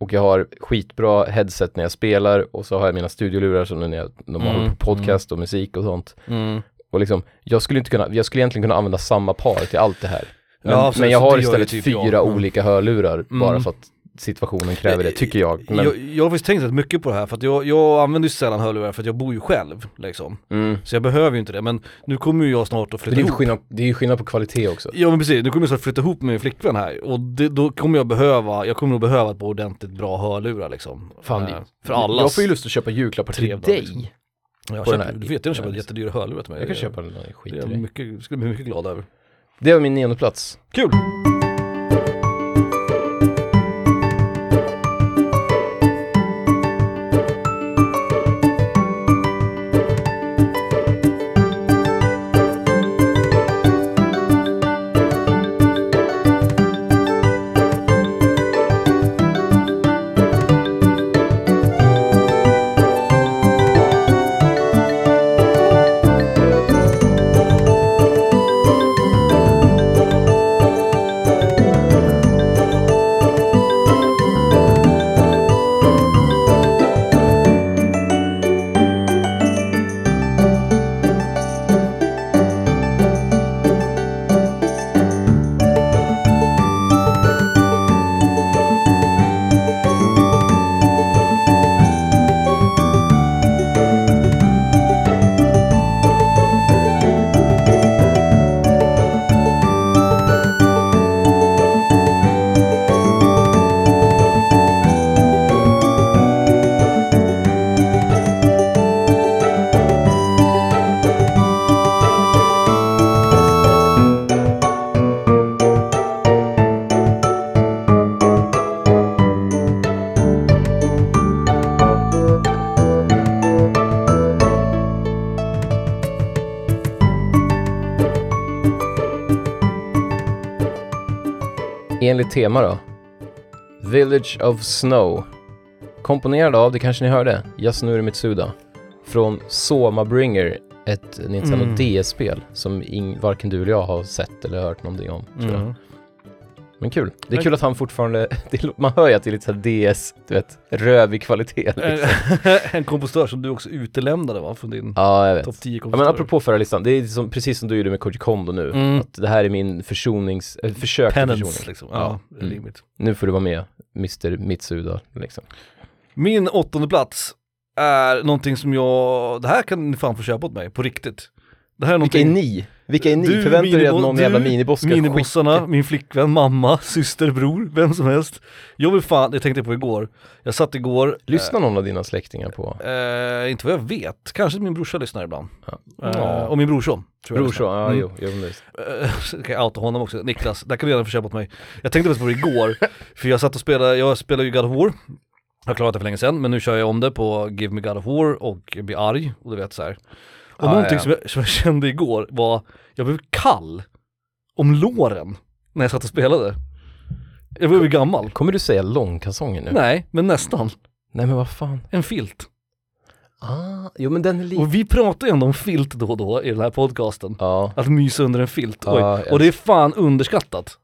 B: och jag har skitbra headset när jag spelar och så har jag mina studiolurar som nu när jag när man
A: Mm,
B: håller på podcast och musik och sånt.
A: mm.
B: Och liksom, jag skulle inte kunna, jag skulle egentligen kunna använda samma par till allt det här. Men,
A: Ja, absolut,
B: men jag
A: så
B: har
A: det gör
B: istället
A: ju typ jag.
B: fyra
A: Mm.
B: olika hörlurar bara
A: Mm.
B: för att situationen kräver det, tycker jag. Men,
A: Jag, jag har faktiskt tänkt rätt mycket på det här för att jag, jag använder ju sällan hörlurar för att jag bor ju själv liksom.
B: mm.
A: Så jag behöver ju inte det men nu kommer ju jag snart att flytta
B: Men det är ju
A: ihop.
B: skillnad, det är ju skillnad på kvalitet också.
A: Ja men precis, nu kommer jag snart flytta ihop med min flickvän här och det, då kommer jag behöva, jag kommer nog behöva ett par ordentligt bra hörlurar liksom.
B: Fan,
A: Eh,
B: det,
A: för alla.
B: Jag får ju lust att köpa julklappar till
A: Trevnad,
B: dig.
A: liksom. jag
B: på den
A: köper,
B: här-
A: Du vet jag köper
B: Ja,
A: jättedyra hörlurar till mig.
B: Jag kan köpa
A: det.
B: den, där, skit
A: Det
B: i
A: är
B: det.
A: jag mycket, skulle bli mycket glad över.
B: Det var min nionde plats.
A: Kul!
B: Enligt tema då. Village of Snow. Komponerad av, det kanske ni hörde, Yasunori Mitsuda. Från Soma Bringer, ett Nintendo
A: Mm.
B: DS-spel som ing- varken du eller jag har sett eller hört någonting om. Tror jag.
A: Mm.
B: Men kul. Det är
A: Men-
B: kul att han fortfarande, *laughs* det, lå- man hör ju att det är lite såhär DS, du vet, rövig kvalitet. *laughs* Liksom.
A: *laughs* en kompositör som du också utelämnade va, från din
B: Ja, jag vet.
A: topp 10
B: Ja, men
A: kompositörer.
B: apropå förra listan, det är som, precis som du gjorde med Koji Kondo nu.
A: mm.
B: Att det här är min försonings, äh, försök till
A: Penance
B: försoning.
A: liksom,
B: Ja.
A: ja, det är
B: Mm.
A: rimligt.
B: Nu får du vara med, Mr Mitsuda liksom.
A: Min åttonde plats är någonting som jag, det här kan ni fan få köpa åt mig, på riktigt. Det här är
B: Vilka är
A: någonting...
B: ni? Vilka är ni?
A: Du,
B: Förväntar du er att
A: minibo-
B: någon
A: du,
B: jävla miniboss ska
A: Minibossarna, min flickvän, mamma, *laughs* syster, bror, vem som helst. Jag vill fan, det tänkte jag på igår. Jag satt igår,
B: Lyssnar någon av dina släktingar på
A: eh, inte vad jag vet, kanske min brorsa lyssnar ibland.
B: Ja.
A: Eh,
B: Ja.
A: Och min brorson. tror jag
B: brorsan? Ja,
A: Mm.
B: jo, jo, men visst.
A: Eh, *laughs* så kan jag outa honom också, Niklas, där kan du gärna få köpa åt mig. Jag tänkte faktiskt på det igår, för jag satt och spelade, jag spelar ju God of War, jag har klarat det för länge sedan, men nu kör jag om det på Give Me God of War och blir arg, och du vet så här. Och
B: Ah,
A: någonting
B: ja.
A: Som, jag, som jag kände igår var, jag blev kall om låren när jag satt och spelade. Jag blev ju gammal.
B: Kommer du säga långkalsonger nu?
A: Nej, men nästan.
B: Nej, men vad fan.
A: En filt.
B: Ah, jo men den är lite...
A: Och vi pratar ju ändå om filt då och då i den här podcasten.
B: Ja.
A: Att mysa under en filt. Oj.
B: Ja, jag-
A: Och det är fan underskattat.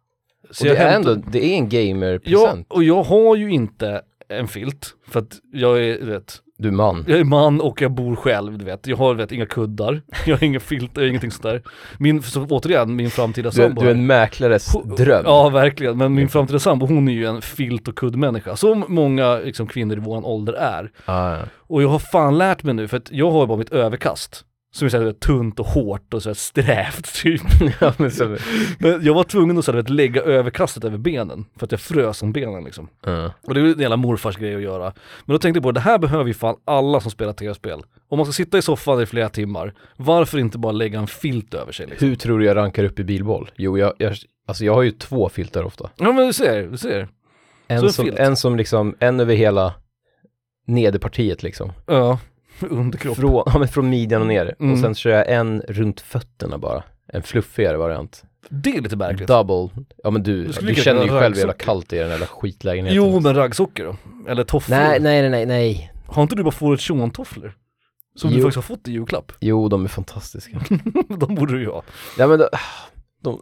A: Ah, Så
B: och det är
A: hämtar-
B: ändå, det är en
A: Ja,
B: gamer-present.
A: och jag har ju inte en filt för att jag är, du vet,
B: Du är man.
A: jag är man och jag bor själv, du vet. Jag har, du vet, inga kuddar, *laughs* jag har ingen filt, jag har ingenting sådär. Min, så återigen, min framtida
B: Du,
A: sambo.
B: du är
A: här.
B: en mäklares
A: Ho-
B: dröm.
A: Ja, verkligen. Men min framtida sambo, hon är ju en filt och kuddmänniska. Som många liksom, kvinnor i våran ålder är.
B: Ah, ja.
A: Och jag har fan lärt mig nu, för att jag har ju bara mitt överkast. Som är såhär du vet, tunt och hårt och såhär strävt typ.
B: *laughs* ja, men så...
A: Men jag var tvungen att såhär, du vet, lägga överkastet över benen. För att jag frös om benen liksom.
B: Ja.
A: Och det är ju en jävla morfars grej att göra. Men då tänkte jag på, det här behöver ju fan alla som spelar tv-spel. Om man ska sitta i soffan i flera timmar, varför inte bara lägga en filt över sig liksom?
B: Hur tror du jag rankar upp i bilboll? Jo, jag, jag, alltså jag har ju två filtar ofta.
A: Ja men du ser, du ser. Så
B: En
A: en
B: som,
A: filt.
B: en som liksom, en över hela nederpartiet liksom.
A: Ja, underkropp.
B: Från, *laughs* ja, men från midjan och ner.
A: Mm.
B: Och sen kör jag en runt fötterna bara. En fluffigare variant.
A: Det är lite märkligt.
B: Double. Ja men du,
A: Du
B: du,
A: skulle lika
B: känner ju
A: gärna
B: själv hur jävla
A: raggsockor.
B: kallt det är i den där jävla skitlägenheten.
A: jo men raggsockor då? Eller tofflor?
B: Nej, nej, nej, nej, nej.
A: Har inte du bara fåret Sean-tofflor? Som du
B: Jo.
A: faktiskt har fått i julklapp. *laughs*
B: Jo, de är fantastiska.
A: De borde du ju ha.
B: nej men de, de,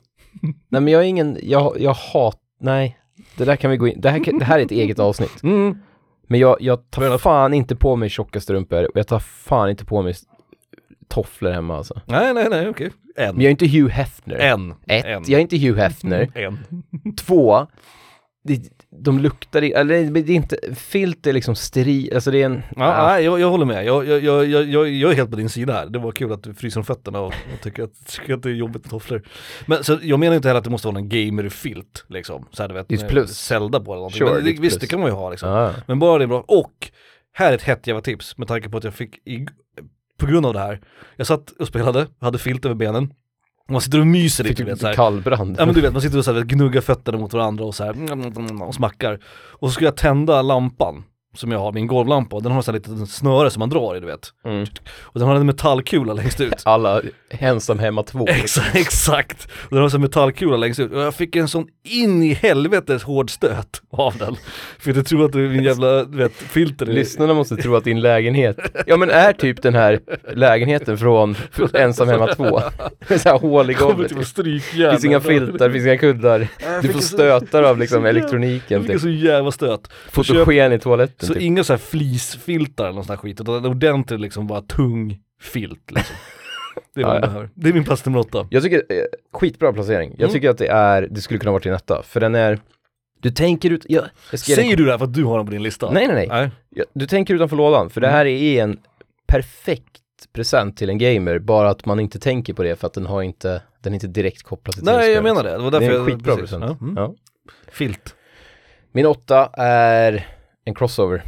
B: nej men jag är ingen, jag, jag hat, nej. Det där kan vi gå in, det här, kan- det här är ett eget avsnitt.
A: Mm.
B: Men jag, jag tar
A: Fair enough.
B: fan inte på mig tjocka strumpor och jag tar fan inte på mig s- tofflor hemma alltså.
A: Nej nej nej okej.
B: Men
A: En.
B: jag är inte Hugh Hefner.
A: En.
B: Ett,
A: En.
B: jag är inte Hugh
A: *laughs*
B: Hefner.
A: En.
B: Två, det, de luktar, i, eller det är inte, filt är liksom steril, alltså det är en,
A: Ja, Nej, jag, jag håller med. Jag, jag, jag, jag- jag, jag är helt på din sida här. Det var kul att du fryser om fötterna och, och tycker, att, tycker att det är jobbigt med tofflor. Men så, jag menar inte heller att det måste vara en gamerfilt liksom. Så här, du vet,
B: Det är ett
A: med
B: plus.
A: Zelda på eller någonting.
B: Sure,
A: Men
B: det är
A: det,
B: ett
A: visst, det
B: plus.
A: kan man ju ha liksom.
B: ah.
A: Men bara det är bra. Och här är ett hett jävla tips med tanke på att jag fick, i, på grund av det här, jag satt och spelade, hade filt över benen. Och Man sitter och myser
B: Fick
A: lite, du vet, så
B: du
A: här.
B: kallbrand?
A: typ Ja men du vet, man sitter och så här, gnuggar fötterna mot varandra och så här mm, och smackar. Och så ska jag tända lampan som jag har, min golvlampa, och den har så här lite snöre som man drar i du vet.
B: *laughs* Mm.
A: Och den har en metallkula längst
B: *laughs*
A: ut.
B: Alla ensam hemma två.
A: Exakt, exakt! Och den har så här metallkula längst ut. Och jag fick en sån in i helvetes hård stöt av den. För jag tror att det är min jävla, du vet, filter. är-
B: Lyssnarna måste tro att din lägenhet, ja men är typ
A: *laughs*
B: den här lägenheten från ensam hemma två. Med så här hål i
A: kommer
B: golvet.
A: till strykjärn.
B: Finns inga filtar, finns inga kuddar. Du får stötar av liksom elektroniken,
A: Jag fick en
B: typ.
A: så jävla stöt.
B: fotogen i toaletten.
A: Så
B: typ.
A: inga så här fleecefiltar eller någon sån här skit, utan en ordentlig liksom bara tung filt
B: *laughs*
A: liksom. Det är vad
B: Ja,
A: jag
B: ja.
A: behöver. Det är min plats nummer åtta.
B: Jag tycker, eh, skitbra placering. Jag
A: Mm.
B: tycker att det är, det skulle kunna vara din etta, för den är, du tänker ut, jag, jag ska ge dig-
A: Säger du det här för att du har den på din lista?
B: Nej, nej, nej.
A: Nej.
B: Ja, Du tänker utanför lådan, för det
A: Mm.
B: här är en perfekt present till en gamer, bara att man inte tänker på det för att den har inte, den är inte direkt kopplad till
A: Nej,
B: tv-spel.
A: jag menar det. Det var därför
B: Det är en
A: jag...
B: skitbra
A: precis.
B: present.
A: Ja. Mm.
B: Ja.
A: Filt.
B: Min åtta är en crossover,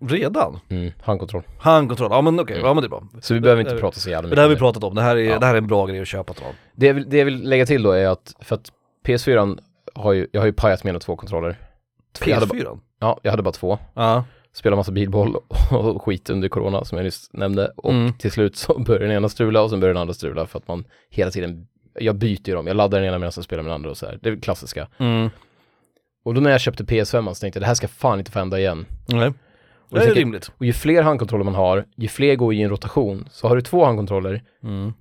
A: Redan?
B: mm, handkontroll.
A: Handkontroll, ja men okej, ja men det är bra.
B: Så vi behöver inte
A: det-
B: prata så jävla
A: Det här har vi
B: mycket. om
A: pratat om, det här är,
B: Mm. Ja.
A: det här är en bra grej att köpa till
B: Det jag, vill, det jag vill lägga till då är att, för att PS4 har ju, jag har ju pajat mina två kontroller. Jag hade, ba-
A: PS4?
B: ja, jag hade bara två.
A: Ja.
B: spelade massa bilboll och *laughs* skit under corona som jag nyss nämnde. Och
A: Mm.
B: till slut så börjar den ena strula och sen börjar den andra strula för att man hela tiden, jag byter ju dem, jag laddar den ena medan jag spelar med den andra och så här. Det är det klassiska.
A: Mm.
B: Och då när jag köpte PS5 så tänkte jag det här ska fan inte få hända igen.
A: Nej.
B: Och,
A: Det är
B: tänker-
A: rimligt.
B: och ju fler handkontroller man har, ju fler går i en rotation. Så har du två handkontroller,
A: Mm.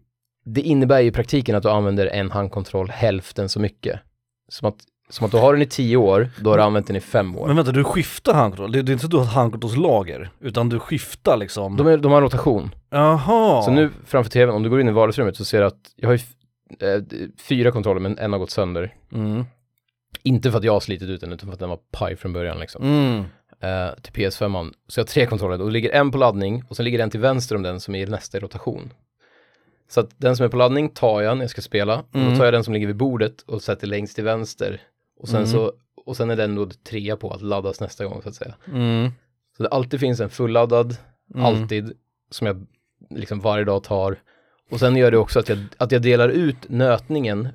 B: det innebär ju i praktiken att du använder en handkontroll hälften så mycket. Som att, som att du har den i tio år, då har du använt den i fem år.
A: Men vänta, du skiftar handkontroll? Det, det är inte så att du har ett handkontrollslager, utan du skiftar liksom...
B: De, är, de har en rotation.
A: Jaha!
B: Så nu framför tvn, om du går in i vardagsrummet så ser du att jag har ju f- eh, d- fyra kontroller men en har gått sönder.
A: Mm.
B: Inte för att jag har slitit ut den utan för att den var paj från början liksom.
A: Mm.
B: Eh, till PS5. -an. Så jag har tre kontroller och det ligger en på laddning och sen ligger en till vänster om den som är i nästa rotation. Så att den som är på laddning tar jag när jag ska spela. Och
A: Mm.
B: då tar jag den som ligger vid bordet och sätter längst till vänster. Och sen,
A: Mm.
B: så, och sen är den då trea på att laddas nästa gång så att säga.
A: Mm.
B: Så det alltid finns en fulladdad,
A: Mm.
B: alltid, som jag liksom varje dag tar. Och sen gör det också att jag, att jag delar ut nötningen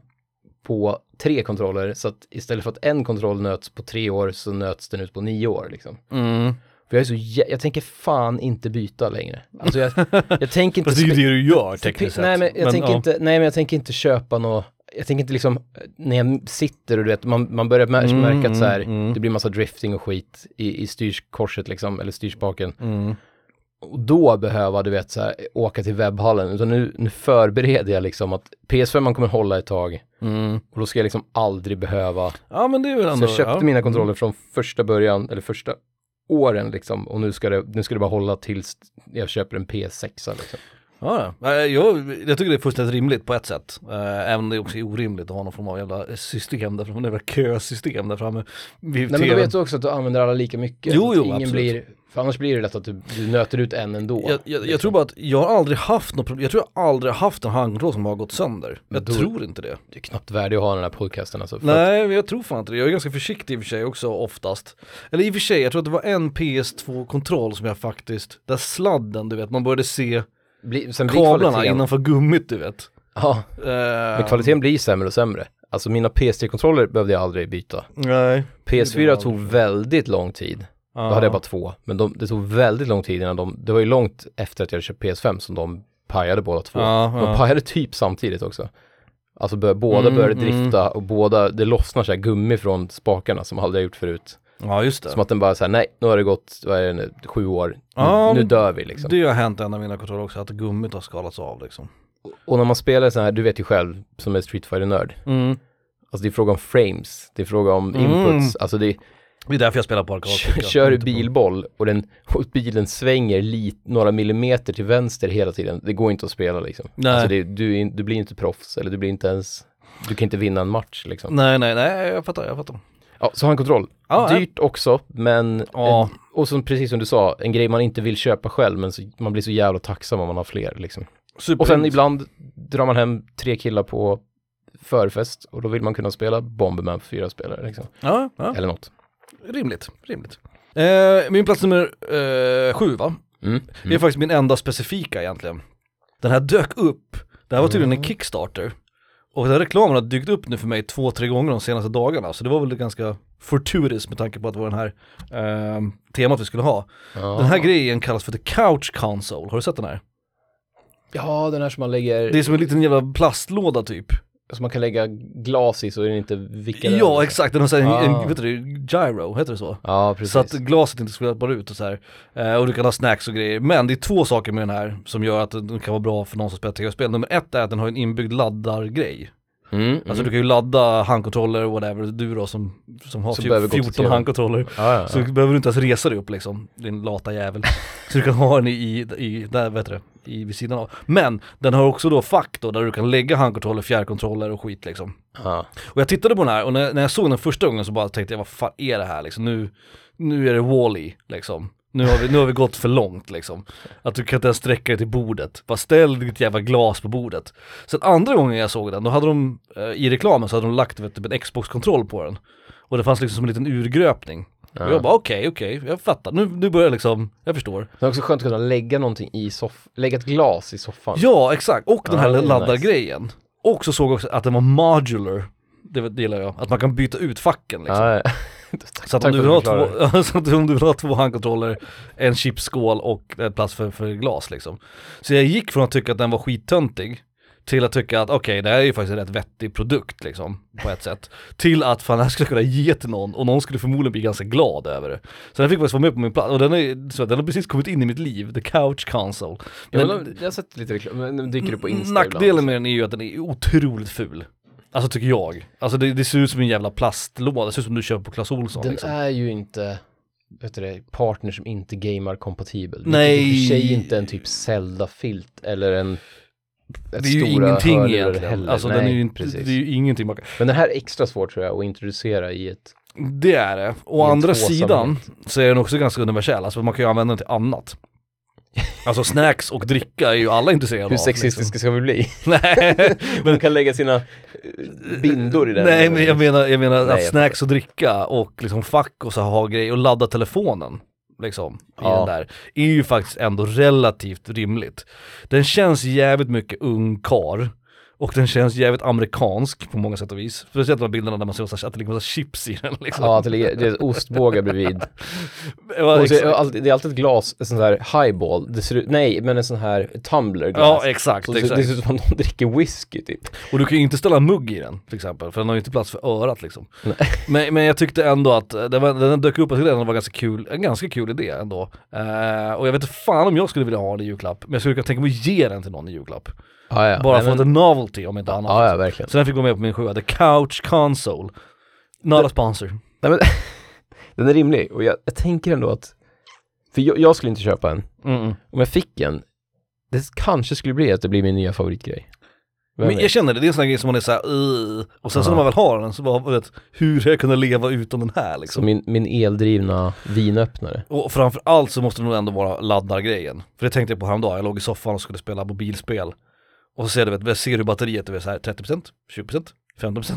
B: på tre kontroller. Så att istället för att en kontroll nöts på tre år så nöts den ut på nio år liksom.
A: Mm.
B: För jag är så, jä- jag tänker fan inte byta längre.
A: *laughs*
B: Alltså jag, jag tänker inte...
A: Fast det är ju
B: spe-
A: det du gör tekniskt sett.
B: Nej men, jag tänker
A: ja.
B: inte, nej men jag tänker inte köpa något, jag tänker inte liksom, när jag sitter och du vet, man, man börjar mär-
A: Mm,
B: märka att så här,
A: mm, mm.
B: det blir massa drifting och skit i, i styrskorset liksom, eller styrspaken.
A: Mm.
B: Och då behöva, du vet, så här, åka till webbhallen, utan nu, nu förbereder jag liksom att PS5 man kommer hålla ett tag,
A: Mm.
B: och då ska jag liksom aldrig behöva,
A: Ja men det är väl
B: så
A: ändå...
B: jag köpte
A: ja. Mm.
B: mina kontroller från första början, eller första åren liksom, och nu ska det, nu ska det bara hålla tills jag köper en PS6 liksom.
A: Ja, ja. Eh, jag, jag tycker det är fullständigt rimligt på ett sätt. Eh, Även om det också är orimligt att ha någon form av jävla system där framme, *laughs* någon jävla kösystem där framme vid
B: Nej men då
A: TVn.
B: vet du också att du använder alla lika mycket.
A: Jo,
B: så att
A: jo,
B: ingen
A: absolut.
B: Blir, för annars blir det lätt att du, du nöter ut en ändå.
A: jag, jag, jag tror bara att jag har aldrig haft något problem, jag tror jag aldrig har haft en handkontroll som har gått sönder. Jag
B: Då-
A: tror inte det.
B: Det är knappt värdigt att ha den här podcasten alltså. För
A: Nej, men jag tror fan inte det. Jag är ganska försiktig i och för sig också oftast. Eller i och för sig, jag tror att det var en PS2-kontroll som jag faktiskt, där sladden du vet, man började se
B: att Bli, sen blir
A: kablarna
B: kvaliteten,
A: innanför gummit du vet.
B: ja, men
A: Eh,
B: kvaliteten blir sämre och sämre. Alltså mina PS3-kontroller behövde jag aldrig byta.
A: Nej.
B: PS4
A: jag
B: tog väldigt lång tid. Då hade jag bara två. Men de, det tog väldigt lång tid innan de, det var ju långt efter att jag hade köpt PS5 som de pajade båda två.
A: Ja,
B: De
A: ja.
B: pajade typ samtidigt också. Alltså bör, båda
A: Mm,
B: började
A: mm.
B: drifta och båda, det lossnar så här gummi från spakarna som hade jag gjort förut.
A: ja, just det.
B: Som att den bara såhär, nej, nu har det gått, vad är det nu, sju år, nu,
A: Ja,
B: nu
A: men
B: dör vi liksom.
A: Det har hänt en av mina kontroller också, att gummit har skalats av liksom.
B: Och när man spelar så här, du vet ju själv, som är Street fighter nörd
A: Mm.
B: alltså det är fråga om frames, det är fråga om
A: Mm.
B: inputs, alltså det är,
A: Det är därför jag spelar på arkad. tycker jag.
B: kör du
A: Inte på-
B: bilboll och, den, och bilen svänger lit, några millimeter till vänster hela tiden, det går inte att spela liksom.
A: Nej.
B: Alltså det, du, är in- du blir inte proffs, eller du blir inte ens, du kan inte vinna en match liksom.
A: Nej, nej, nej, jag fattar, jag fattar.
B: Ja, så handkontroll,
A: Ja, ja.
B: dyrt också, men, eh,
A: Ja.
B: och som, precis som du sa, en grej man inte vill köpa själv, men så, man blir så jävla tacksam om man har fler liksom.
A: Super.
B: Och sen ibland drar man hem tre killar på förfest och då vill man kunna spela Bomberman för fyra spelare liksom.
A: Ja, ja.
B: Eller något.
A: Rimligt, rimligt. Eh, min plats nummer eh, sju va?
B: Mm.
A: Det är faktiskt min enda specifika egentligen. Den här dök upp, det här var tydligen
B: Mm.
A: en Kickstarter. Och den här reklamen har dykt upp nu för mig två, tre gånger de senaste dagarna. Så det var väl ganska fortuitous med tanke på att det var den här ehm, temat vi skulle ha.
B: Ja.
A: Den här grejen kallas för The Couch Console, har du sett den här?
B: ja, den här som man lägger,
A: Det är som en liten jävla plastlåda typ.
B: som man kan lägga glas i så är den inte vickad
A: Ja
B: över.
A: exakt, den har så här en,
B: Ah.
A: en, vet du, gyro, heter det så?
B: Ja, precis.
A: Så att glaset inte skvätter ut och så här. Eh, och du kan ha snacks och grejer. Men det är två saker med den här som gör att den kan vara bra för någon som spelar tv-spel. Nummer ett är att den har en inbyggd laddargrej.
B: mm, mm.
A: Alltså du kan ju ladda handkontroller och whatever. Du då som, som har
B: Som
A: typ
B: behöver gå till
A: 14
B: TV:n.
A: handkontroller.
B: ja, ja, ja.
A: Så behöver du inte ens resa dig upp liksom, din lata
B: *laughs*
A: jävel. Så du kan ha den i, i där vet du, i, vid sidan av. Men den har också då fack då, där du kan lägga handkontroller, fjärrkontroller och skit liksom.
B: ja.
A: Och jag tittade på den här och när, när jag såg den första gången så bara tänkte jag vad fan är det här liksom? Nu, nu är det Wall-E liksom. Nu har, vi, nu har vi gått för långt liksom. Att du kan inte ens sträcka dig till bordet. Bara ställ ditt jävla glas på bordet. Sen andra gången jag såg den, då hade de eh, i reklamen så hade de lagt vet, du, typ en Xbox-kontroll på den. Och det fanns liksom som en liten urgröpning. Och jag bara okej, okej, jag fattar. Nu, nu börjar jag liksom, jag förstår.
B: Det är också skönt att kunna lägga någonting i soffan, lägga ett glas i soffan.
A: Ja, exakt. Och den
B: Ja,
A: här
B: det är
A: laddargrejen. Och så såg jag också att den var modular. Det, det gillar jag. Att man kan byta ut facken liksom.
B: Ja, ja.
A: Så att om
B: Tack
A: du,
B: för
A: vill ha
B: att du förklarar.
A: två, *laughs* så att om du vill ha två handkontroller, en chipsskål och eh, plats för, för glas liksom. Så jag gick från att tycka att den var skittöntig till att tycka att okej det här är ju faktiskt en rätt vettig produkt liksom på ett sätt. *laughs* Till att fan det här skulle jag kunna ge till någon och någon skulle förmodligen bli ganska glad över det. Så den fick faktiskt vara med på min plats och den, är, så den har precis kommit in i mitt liv, The Couch Console.
B: Ja,
A: Men
B: *laughs* men, jag har sett lite reklam, men den dyker upp på alltså. Insta
A: nackdelen
B: ibland.
A: med den är ju att den är otroligt ful. Alltså tycker jag. Alltså det, det ser ut som en jävla plastlåda, det ser ut som du köper på Clas Ohlson
B: Den
A: liksom.
B: är ju inte, vet du det, partner som inte gamar kompatibel.
A: Nej.
B: Vilket i och för sig inte en typ Zelda-filt eller en... ett
A: Det är ju
B: stora
A: ingenting
B: hörlurar
A: egentligen.
B: heller.
A: Alltså den är
B: Nej,
A: ju inte,
B: precis.
A: det är ju ingenting man kan.
B: Men den här är extra svårt tror jag att introducera i ett...
A: Det är det. Å
B: I en
A: andra
B: tvåsamhet. *laughs*
A: sidan så är den också ganska universell, alltså man kan ju använda den till annat. Alltså snacks och dricka är ju alla intresserade av.
B: Hur sexistiska ska vi bli?
A: liksom. *laughs* Nej,
B: De kan lägga sina eh, bindor i den.
A: nej men jag menar, jag menar
B: Nej,
A: att
B: jag
A: snacks och dricka och liksom fack och så ha grejer och ladda telefonen. Liksom, i
B: Ja.
A: den där. Är ju faktiskt ändå relativt rimligt. Den känns jävligt mycket ung kar och den känns jävligt amerikansk på många sätt och vis. Speciellt de här bilderna där man ser så här- att det ligger massa chips i den liksom.
B: Ja, att det ligger det är ostbågar bredvid.
A: *laughs* Ja,
B: Och så, är det
A: exakt.
B: alltid- det är alltid ett glas, en sån här highball. Det ser ut, nej, men en sån här tumbler
A: Ja,
B: glas.
A: exakt,
B: så det, ser- det
A: exakt.
B: ser ut som att de dricker whisky typ.
A: Och du kan ju inte ställa en mugg i den till exempel, för den har ju inte plats för örat liksom. Men, men jag tyckte ändå att eh, det var, den dök upp och tyckte att den var ganska kul, en ganska kul idé ändå. Eh, och jag vet inte fan om jag skulle vilja ha den i julklapp, men jag skulle kunna tänka mig att ge den till någon i julklapp.
B: Ja, ja.
A: Bara
B: Nej,
A: för att
B: men-
A: det är novelty om inte annat.
B: Ja, ja, verkligen.
A: Så den fick gå med på min sjua, The Couch Console. Not a sponsor.
B: Nej, men, den är rimlig och jag, jag tänker ändå att, för jag, jag skulle inte köpa en.
A: Mm.
B: Om jag fick en, det kanske skulle bli att det blir min nya favoritgrej. Vem
A: Men
B: vet?
A: jag känner det, det är en sån här grej som man är såhär uh. Och sen så när man väl har den så bara, vet, hur har jag kunnat leva utan den här liksom?
B: Som min, min eldrivna vinöppnare.
A: Och framförallt så måste det nog ändå vara laddargrejen. För det tänkte jag på häromdagen, jag låg i soffan och skulle spela mobilspel. Och så ser du, vet, jag ser hur batteriet är så här 30%, 20%, 15%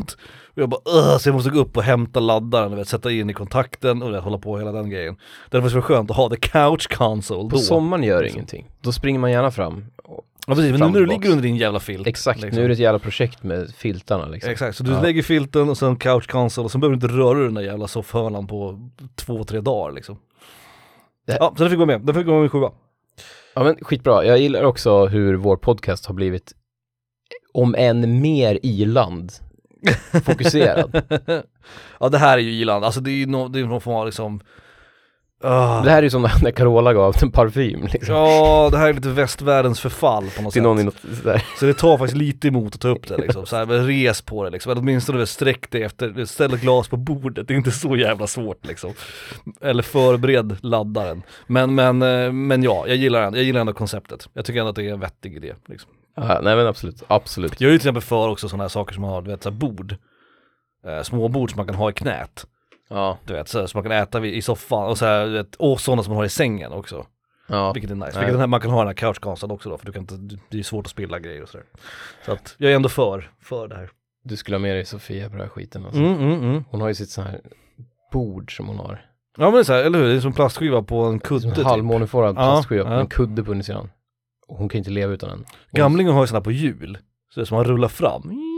A: Och jag bara Åh! så jag måste gå upp och hämta laddaren, du vet, sätta in i kontakten och du vet, hålla på hela den grejen. Därför är det så skönt att ha the couch console
B: På
A: då.
B: sommaren gör det ingenting. Då springer man gärna fram. Och,
A: ja, precis, men nu
B: fram
A: när du
B: bak.
A: ligger under din jävla filt.
B: exakt,
A: liksom.
B: nu är det ett jävla projekt med filtarna liksom.
A: Exakt, så du
B: Ja.
A: lägger filten och sen couch console och sen behöver du inte röra den där jävla soffhörnan på två, tre dagar liksom.
B: Det-
A: Ja, så den fick gå med, den fick gå med i sjua.
B: Ja men skitbra, jag gillar också hur vår podcast har blivit om än mer
A: *laughs*
B: i-land fokuserad.
A: Ja det här är ju Irland, alltså det är ju nå- det är någon form av liksom Ah.
B: Det här är ju som när Carola gav den parfym liksom.
A: Ja, det här är lite västvärldens förfall på något
B: Till
A: sätt.
B: någon i något sådär.
A: Så det tar faktiskt lite emot att ta upp det liksom. Så här, men res på det liksom. Eller åtminstone väl sträck dig efter, ställ ett glas på bordet. Det är inte så jävla svårt liksom. Eller förbered laddaren. Men, men, eh, men ja, jag gillar, ändå- jag gillar ändå konceptet. Jag tycker ändå att det är en vettig idé. Liksom.
B: Ja, nej men absolut, absolut.
A: Jag är ju till exempel för också sådana här saker som har, du vet, så här bord. Eh, små bord som man kan ha i knät.
B: Ja,
A: Du vet, så, så man kan äta vid, i soffan och så här, du vet, och sådana som man har i sängen också.
B: ja.
A: Vilket är nice.
B: Nej.
A: Vilket den här, man kan ha den här couchkonsten också då, för du kan inte, det är svårt att spilla grejer och sådär. Så att jag är ändå för, för det här.
B: Du skulle ha med dig Sofia på den här skiten alltså.
A: Mm, mm, mm.
B: Hon har ju sitt sån här bord som hon har.
A: Ja men det är så här, eller hur, det är som plastskiva på en
B: Som
A: kudde
B: en
A: typ.
B: halvmåneformad
A: Ja,
B: plastskiva med
A: ja.
B: en kudde på undersidan. Och hon kan ju inte leva utan den. Hon-
A: Gamlingen har ju sådana på hjul, så det är som man rullar fram. *laughs*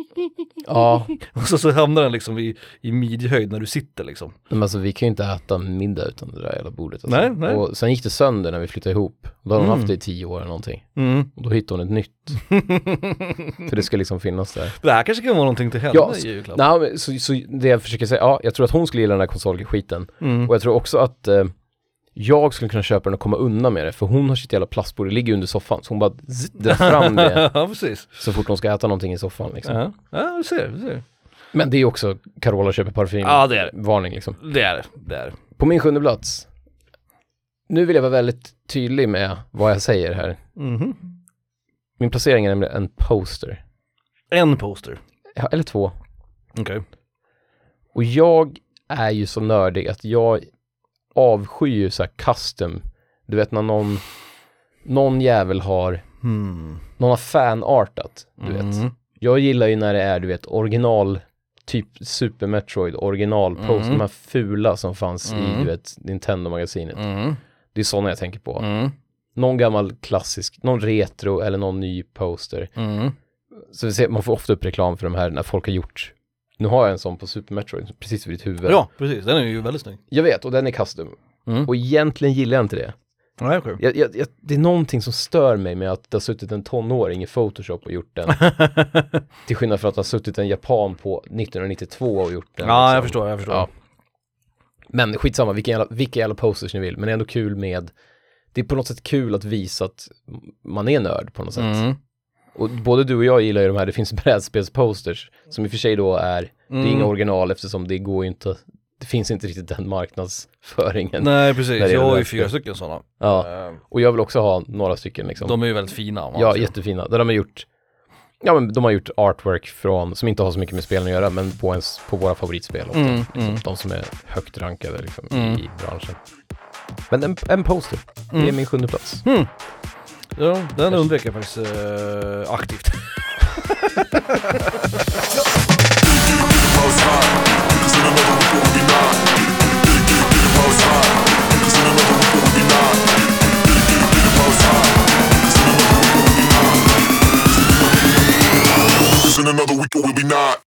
B: Ja,
A: Och så, så hamnar den liksom i, i midjehöjd när du sitter liksom.
B: men alltså vi kan ju inte äta middag utan det där jävla bordet. Alltså.
A: Nej, nej.
B: Och sen gick det sönder när vi flyttade ihop. Då har hon
A: Mm.
B: haft det i tio år eller någonting.
A: Mm.
B: Och då hittade hon ett nytt. Så det ska liksom
A: *laughs*
B: finnas där.
A: *laughs* det här kanske kan vara någonting till henne
B: Ja,
A: i julklapp.
B: Nej, men så, så det jag försöker säga, ja, jag tror att hon skulle gilla den här konsolskiten.
A: Mm.
B: Och jag tror också att eh, jag skulle kunna köpa den och komma undan med det, för hon har sitt jävla plastbord, det ligger under soffan, så hon bara zzz, drar
A: *laughs*
B: fram det
A: *laughs* ja precis.
B: så fort hon ska äta någonting i soffan. Liksom.
A: Ja, ja du ser, du ser.
B: Men det är också Carola köper parfym.
A: Ja det är det.
B: Varning liksom.
A: Det är det, det är det.
B: På min sjunde plats. Nu vill jag vara väldigt tydlig med vad jag säger här.
A: Mhm.
B: Min placering är nämligen en poster.
A: En poster.
B: Ja, Eller två.
A: Okej.
B: Och jag är ju så nördig att jag avskyr ju så här custom. Du vet när någon, någon jävel har,
A: Hmm.
B: någon har fanartat, du vet.
A: Mm.
B: Jag gillar ju när det är, du vet, original, typ Super Metroid, original post,
A: Mm.
B: de här fula som fanns i,
A: Mm.
B: du vet, Nintendo-magasinet.
A: Mm.
B: Det är sådana jag tänker på.
A: Mm.
B: Någon gammal klassisk, någon retro eller någon ny poster.
A: Mm.
B: Så vi ser, man får ofta upp reklam för de här när folk har gjort, nu har jag en sån på Super Metroid, precis vid ditt huvud.
A: Ja, precis. Den är ju väldigt snygg.
B: Jag vet, och den är custom.
A: Mm.
B: Och egentligen gillar jag inte det.
A: Nej, okej.
B: Jag, jag, jag, det är någonting som stör mig med att det har suttit en tonåring i Photoshop
A: *laughs*
B: och gjort den. till skillnad från att det har suttit en japan på 1992 och gjort den.
A: Ja, jag
B: liksom.
A: förstår, jag förstår. Mm.
B: Ja. Men skitsamma, vilka jävla, vilka jävla posters ni vill. Men det är ändå kul med, det är på något sätt kul att visa att man är nörd på något sätt.
A: Mm.
B: Och både du och jag gillar ju de här, det finns *laughs* brädspelsposters som i och för sig då är, det är
A: Mm.
B: inga original eftersom det går ju inte, det finns inte riktigt den marknadsföringen.
A: Nej,
B: När
A: precis.
B: det
A: Jag
B: gäller
A: har ju
B: vätskor.
A: fyra stycken sådana.
B: Ja,
A: Eh,
B: och jag vill också ha några stycken liksom.
A: De är ju väldigt fina. om man
B: ja,
A: säger.
B: jättefina. Där de har gjort, ja men de har gjort artwork från, som inte har så mycket med spelen att göra, men på, ens, på våra favoritspel. ofta.
A: Mm,
B: liksom,
A: mm.
B: De som är högt rankade liksom,
A: Mm.
B: i branschen. Men en, en poster, det är min sjunde plats.
A: Ja, den undvek jag faktiskt eh, aktivt. *laughs*
C: in another week or we'll be not.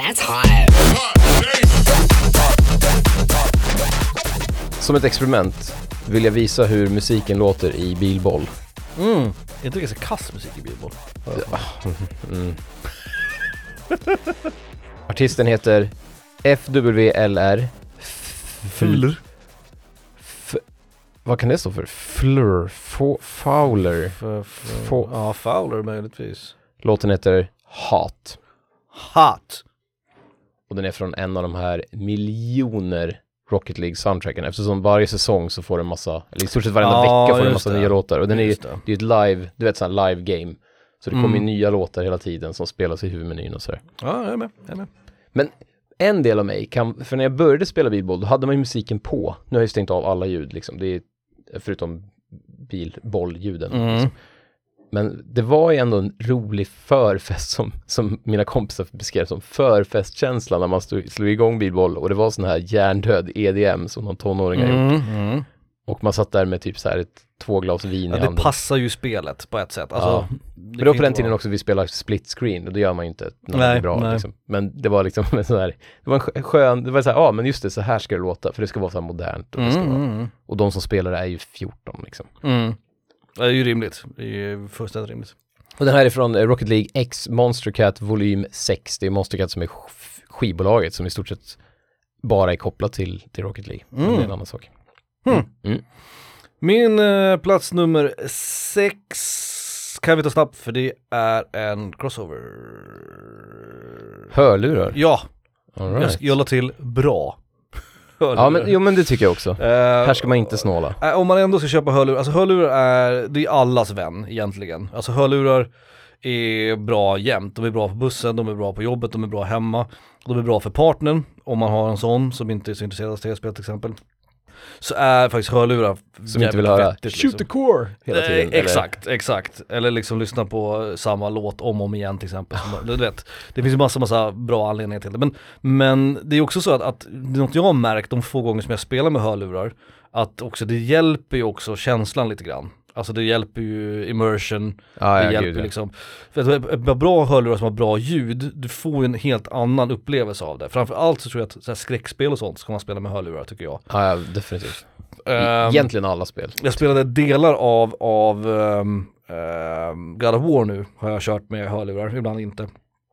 D: That's hot.
B: Som ett experiment vill jag visa hur musiken låter i bilboll.
A: Mm. Jag tycker det är så kass musik i bilboll.
B: Artisten heter FWLR.
A: Fuler.
B: F- vad kan det stå för? Flur? Fo- Fowler? Få-
A: Ja, Fowler möjligtvis.
B: Låten heter Hat.
A: Hot.
B: Och den är från en av de här miljoner Rocket League soundtracken eftersom varje säsong så får den massa, eller i stort sett varenda
A: Ja,
B: vecka får den
A: just
B: massa
A: det.
B: nya låtar. Och den är ju,
A: Just
B: det
A: det.
B: är ju ett live, du vet såhär live game. Så det kommer ju
A: Mm.
B: nya låtar hela tiden som spelas i huvudmenyn och sådär.
A: Ja, jag är med. Jag är med.
B: Men en del av mig kan, för när jag började spela bilboll då hade man ju musiken på. Nu har jag ju stängt av alla ljud liksom, det är förutom bilbollljuden.
A: Mm.
B: Men det var ju ändå en rolig förfest som, som mina kompisar beskrev som förfestkänsla när man stod, slog igång bilboll och det var sån här hjärndöd EDM som någon tonåring har gjort.
A: Mm. Mm.
B: Och man satt där med typ så här ett, två glas vin
A: Ja,
B: i
A: det
B: handen.
A: passar ju spelet på ett sätt. Alltså,
B: Ja.
A: det
B: Men det var
A: kan
B: på den
A: inte
B: tiden
A: vara-
B: också vi spelade split screen och det gör man ju inte när man
A: Nej,
B: är bra
A: nej.
B: liksom. Men det var liksom *laughs* en sån här, det var en skö- skön, det var så här, ja ah, men just det, så här ska det låta för det ska vara så här modernt. Och, det ska
A: Mm.
B: vara.
A: Mm.
B: och de som spelar är ju 14 liksom.
A: Mm. Det är ju rimligt. Det är ju fullständigt rimligt.
B: Och den här är från eh, Rocket League X Monster Cat volym 6. Det är Monster Cat som är sk- skivbolaget som i stort sett bara är kopplat till, till Rocket League. Men
A: Mm.
B: det är en annan sak.
A: Min eh, plats nummer sex kan vi ta snabbt för det är en crossover.
B: Hörlurar.
A: Ja,
B: All
A: jag,
B: right.
A: jag la till bra. *laughs*
B: Ja, men, jo men det tycker jag också. Här ska man inte snåla.
A: Eh, Om man ändå ska köpa hörlurar, alltså hörlurar är, det är allas vän egentligen. Alltså hörlurar är bra jämt, de är bra på bussen, de är bra på jobbet, de är bra hemma. De är bra för partnern, om man har en sån som inte är så intresserad av tv-spel till exempel. Så är faktiskt hörlurar
B: Som inte vill höra
A: vettigt,
B: shoot the core hela tiden.
A: liksom. Eh,
B: eller-
A: exakt, exakt. Eller liksom lyssna på eh, samma låt om och om igen till exempel. Som- Du vet, det finns ju massa, massa bra anledningar till det. Men, men det är också så att, att det är något jag har märkt de få gånger som jag spelar med hörlurar, att också det hjälper ju också känslan lite grann. Alltså det hjälper ju immersion,
B: Ja,
A: det
B: ja,
A: hjälper
B: gud, ja.
A: liksom. För att ett par bra hörlurar som har bra ljud, du får ju en helt annan upplevelse av det. Framförallt så tror jag att så här, skräckspel och sånt ska man spela med hörlurar tycker jag.
B: Ja, ja, definitivt.
A: Ehm,
B: Egentligen alla spel.
A: jag spelade delar av, av ehm, ehm, God of War nu, har jag kört med hörlurar, ibland inte.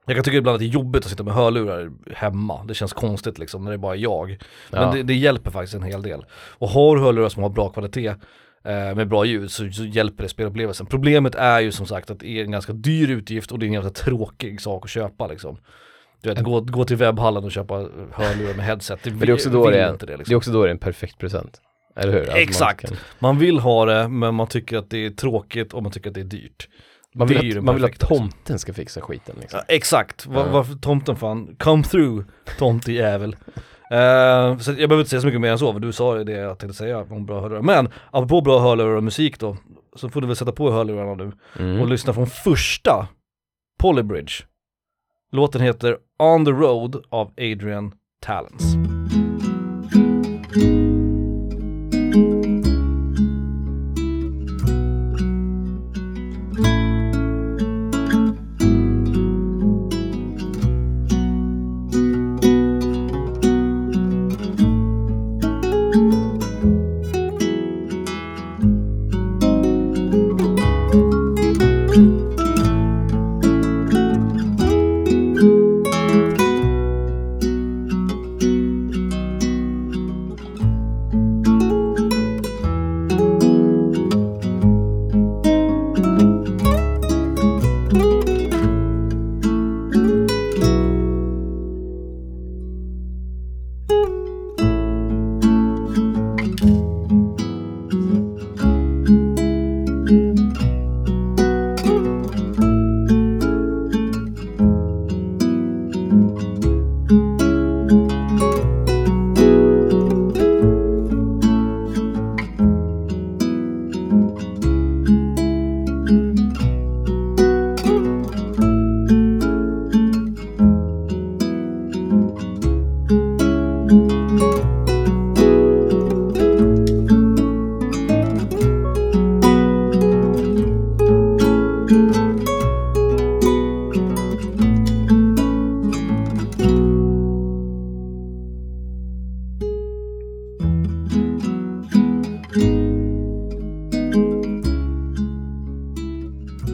A: Jag kan tycka ibland att det är jobbigt att sitta med hörlurar hemma, det känns konstigt liksom när det bara är jag. Men
B: Ja.
A: det, det hjälper faktiskt en hel del. Och har du hörlurar som har bra kvalitet eh, med bra ljud så, så hjälper det spelupplevelsen. Problemet är ju som sagt att det är en ganska dyr utgift och det är en ganska tråkig sak att köpa liksom. Du vet, gå, gå till webbhallen och köpa hörlurar med headset. Det,
B: Men det är också då
A: vill
B: det är,
A: inte det,
B: det är
A: liksom.
B: också då det är en perfekt present. Eller hur? Att man
A: Exakt.
B: kan-
A: Man vill ha det, men man tycker att det är tråkigt och man tycker att det är dyrt.
B: Man
A: Det är ju
B: vill, att,
A: den
B: man vill att
A: perfekta, liksom.
B: tomten ska fixa skiten liksom.
A: Ja, exakt, Va-
B: Ja.
A: varför tomten fan, come through tomtejävel. Eh, så jag behöver inte säga så mycket mer än så, för du sa ju det jag tänkte säga om bra hörlurar. Men apropå bra hörlurar och musik då, så får du väl sätta på hörlurarna nu och
B: Mm.
A: lyssna från första Polybridge. Låten heter On the Road av Adrian Talens.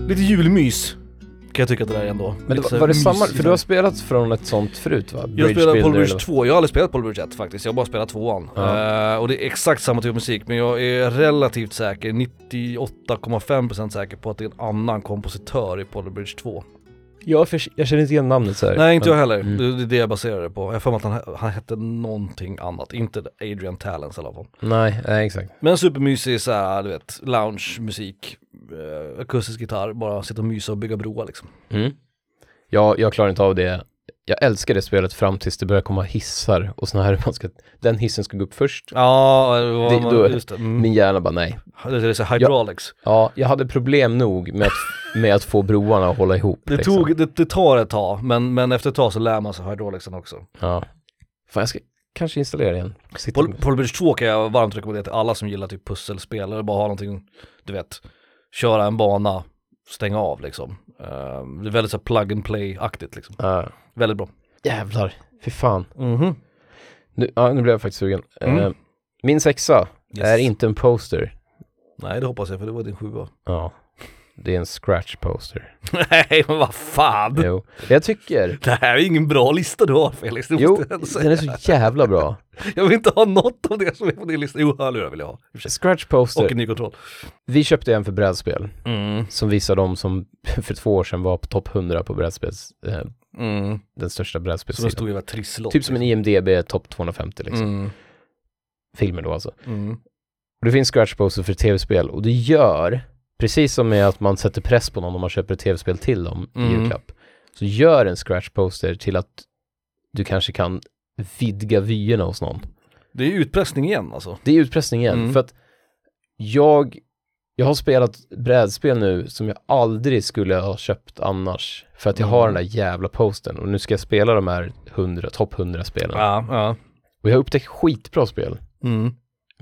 A: Lite julmys kan jag tycka att det där är ändå.
B: Men det
A: Lite så
B: var,
A: här
B: var det
A: liksom mys
B: samma,
A: i
B: för du
A: den.
B: har spelat från ett sånt förut va?
A: Jag
B: Bridge
A: spelar
B: Builder
A: Polybridge
B: eller-
A: 2, jag har aldrig spelat Polybridge 1 faktiskt, jag har bara spelat 2an.
B: Ja.
A: Eh, och det är exakt samma typ av musik, men jag är relativt säker, 98,5% säker på att det är en annan kompositör i Polybridge 2.
B: Jag, förs- jag känner inte igen namnet så här.
A: Nej inte jag heller,
B: Mm.
A: det, det är det jag baserar det på. Jag har för mig att han, han hette någonting annat, inte Adrian Talens i alla fall.
B: Nej, nej exakt.
A: Men supermysig såhär, du vet, lounge-musik, eh, akustisk gitarr, bara sitta och mysa och bygga broar liksom.
B: Mm. Jag, jag klarar inte av det. Jag älskar det spelet fram tills det börjar komma hissar och såna här, *laughs* man ska, den hissen ska gå upp först.
A: Ja, det var,
B: Det- då-
A: just det. Mm.
B: Min hjärna bara nej.
A: Det är så här hydraulics.
B: Ja, jag hade problem nog med att, med att få broarna att hålla ihop.
A: Det,
B: liksom.
A: tog, det, det tar ett tag, men, men efter ett tag så lär man sig hydraulicsen också.
B: Ja. Fan, jag ska kanske installera det igen. Sitta
A: Pol-
B: med-
A: Polybridge 2 kan jag varmt rekommendera till alla som gillar typ pusselspel eller bara ha någonting, du vet, köra en bana, stänga av liksom. Eh, det är väldigt så här plug and play-aktigt liksom.
B: Ja.
A: Väldigt bra.
B: jävlar, fy fan.
A: Mhm.
B: Nu, ja, nu blev jag faktiskt sugen.
A: Mm.
B: Eh, min sexa
A: Yes.
B: är inte en poster.
A: Nej det hoppas jag för det var din sjua.
B: Ja. Det är en scratch poster.
A: *laughs* Nej men vad fan!
B: Jo. Jag tycker,
A: Det här är ingen bra lista du har Felix, det
B: jo,
A: måste jag ändå säga.
B: den är så
A: *laughs*
B: jävla bra.
A: Jag vill inte ha något av det som är på din lista. Jo, hörlurar vill jag ha. i och för sig.
B: Scratch poster.
A: Och en ny kontroll.
B: Vi köpte en för brädspel
A: Mm.
B: som visar de som *laughs* för två år sedan var på topp 100 på brädspels, eh,
A: Mm.
B: den största
A: Som en
B: brädspelssidan.
A: stor jävla trisslott.
B: Typ som en IMDB topp 250 liksom.
A: Mm.
B: Filmer då alltså.
A: Mm.
B: Och det finns scratch poster för tv-spel och det gör, precis som med att man sätter press på någon om man köper ett tv-spel till dem
A: Mm.
B: i julklapp, så gör en scratch poster till att du kanske kan vidga vyerna hos någon.
A: Det är utpressning igen alltså.
B: Det är utpressning igen,
A: Mm.
B: för att jag, jag har spelat brädspel nu som jag aldrig skulle ha köpt annars, för att jag har
A: Mm.
B: den där jävla posten och nu ska jag spela de här 100, topp 100 spelen.
A: Ja, ja.
B: Och jag har upptäckt skitbra spel,
A: Mm.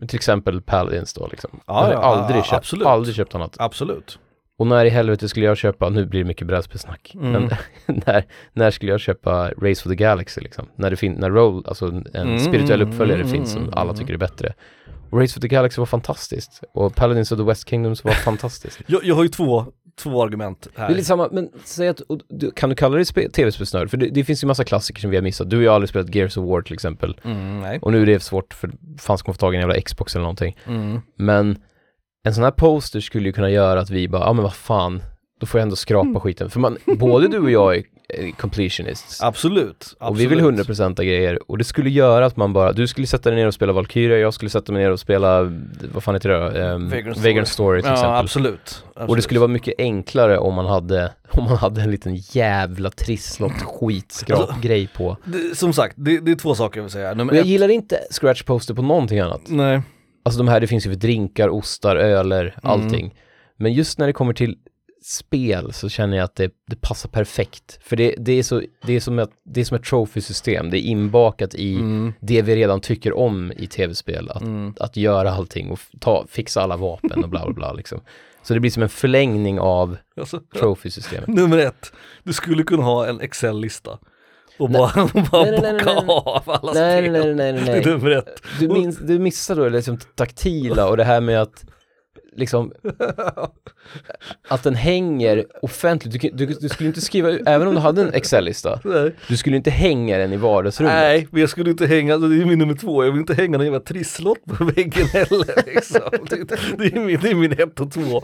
B: till exempel Paladins då liksom.
A: Ja,
B: jag hade
A: ja,
B: aldrig,
A: ja,
B: köpt,
A: absolut.
B: aldrig köpt annat.
A: Absolut.
B: Och när i helvete skulle jag köpa, nu blir det mycket brädspelsnack,
A: Mm.
B: men *laughs* när, när skulle jag köpa Race for the Galaxy liksom? När det finns, när Roll, alltså en
A: Mm,
B: spirituell
A: mm,
B: uppföljare
A: mm,
B: finns
A: mm,
B: som alla
A: mm.
B: tycker är bättre. Och Race for the Galaxy var fantastiskt och Paladins of the West
A: *laughs*
B: Kingdoms var fantastiskt.
A: Jag, jag har ju två, två argument här.
B: Det är lite samma, men säg att, och, du, kan du kalla dig spe- tv-spelsnörd? För det, det finns ju massa klassiker som vi har missat. Du och jag har aldrig spelat Gears of War till exempel.
A: mm, nej.
B: Och nu är det svårt för fan ska man få tag i en jävla Xbox eller någonting.
A: Mm.
B: Men en sån här poster
A: Mm.
B: skulle ju kunna göra att vi bara, ja ah, men vad fan, då får jag ändå skrapa skiten. För man, både du och jag är, eh,
A: *laughs*
B: completionists.
A: Absolut, absolut.
B: Och vi vill 100% grejer och det skulle göra att man bara, du skulle sätta dig ner och spela Valkyria, jag skulle sätta mig ner och spela, vad fan heter det då? Ehm,
A: Vagrant
B: Vagrant Story till
A: ja,
B: exempel.
A: Absolut, absolut.
B: Och det skulle vara mycket enklare om man hade, om man hade en liten jävla trisslott skitskrap-grej på.
A: Det- Som sagt, det, det är två saker Alltså, jag vill säga. Nummer
B: Men jag
A: ett,
B: gillar inte scratch poster på någonting annat.
A: nej.
B: Alltså de här, det finns ju för drinkar, ostar, öler, allting. Men just när det kommer till spel så känner jag att det, det passar perfekt. För det, det, är så, det, är som ett, det är som ett trophy-system, det är inbakat i
A: Mm.
B: det vi redan tycker om i tv-spel. Att, att göra allting och f- ta, fixa alla vapen och bla bla bla liksom. Så det blir som en förlängning av
A: Alltså,
B: trophy-systemet.
A: nummer ett, du skulle kunna ha en Excel-lista. Och bara, *laughs* och bara
B: Nej, nej, nej, nej,
A: bocka
B: nej.
A: av alla *laughs*
B: Nej,
A: spel.
B: nej, nej, nej,
A: Det är
B: nej.
A: nummer ett.
B: Du, minns, du missar då liksom taktila och det här med att liksom att den hänger offentligt. Du, kan- du, du skulle inte skriva, även om du hade en Excel-lista,
A: Nej.
B: du skulle inte hänga den i vardagsrummet.
A: Nej, men jag skulle inte hänga, det är min nummer två, jag vill inte hänga någon jävla trisslott på väggen heller *laughs* liksom. det, det, är min, det är min ett och två.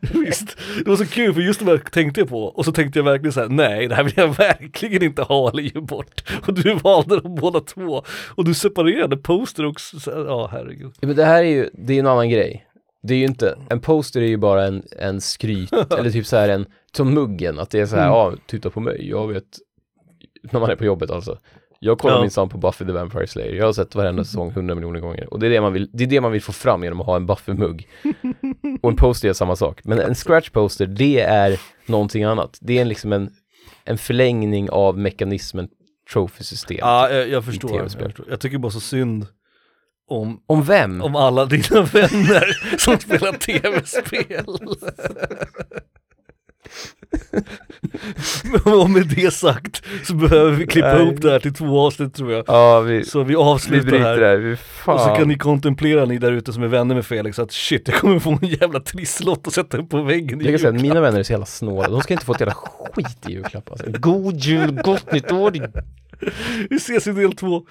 A: *laughs* Visst, det var så kul för just det där tänkte jag på och så tänkte jag verkligen så här: nej det här vill jag verkligen inte ha eller ge bort. Och du valde dem båda två och du separerade poster också, så här, ja herregud.
B: Ja, Men det här är ju, det är ju en annan grej. Det är ju inte, en poster är ju bara en, en *laughs* skryt, eller typ så här en, som muggen, att det är så här, ja, titta på mig, jag vet, *laughs* när man är på jobbet alltså. Jag kollar
A: Ja.
B: minsann på Buffy the Vampire Slayer, jag har sett *laughs* varenda säsong hundra miljoner gånger. Och det är det man vill, det är det man vill få fram genom att ha en *laughs* Buffy-mugg. Och en poster är samma sak. Men en scratch-poster, det är någonting annat. Det är en, liksom en, en förlängning av mekanismen trophy-system.
A: Ja, jag, jag, förstår, jag
B: tv-spel.
A: förstår, jag tycker bara så synd om
B: Om vem?
A: om alla dina vänner som spelar tv-spel. Men och med det sagt så behöver vi klippa
B: Nej.
A: ihop det här till två avsnitt tror jag.
B: Ja, vi,
A: Så vi
B: vi
A: avslutar
B: bryter det
A: här.
B: här, vi fan.
A: Och så kan ni kontemplera ni där ute som är vänner med Felix att shit jag kommer få en jävla trisslott och sätta upp på väggen i
B: Jag kan säga att
A: julklapp.
B: mina vänner är så jävla snåla, de ska inte få ett jävla skit i julklapp alltså. God jul, gott nytt år! Mm.
A: Mm. Vi ses i del två.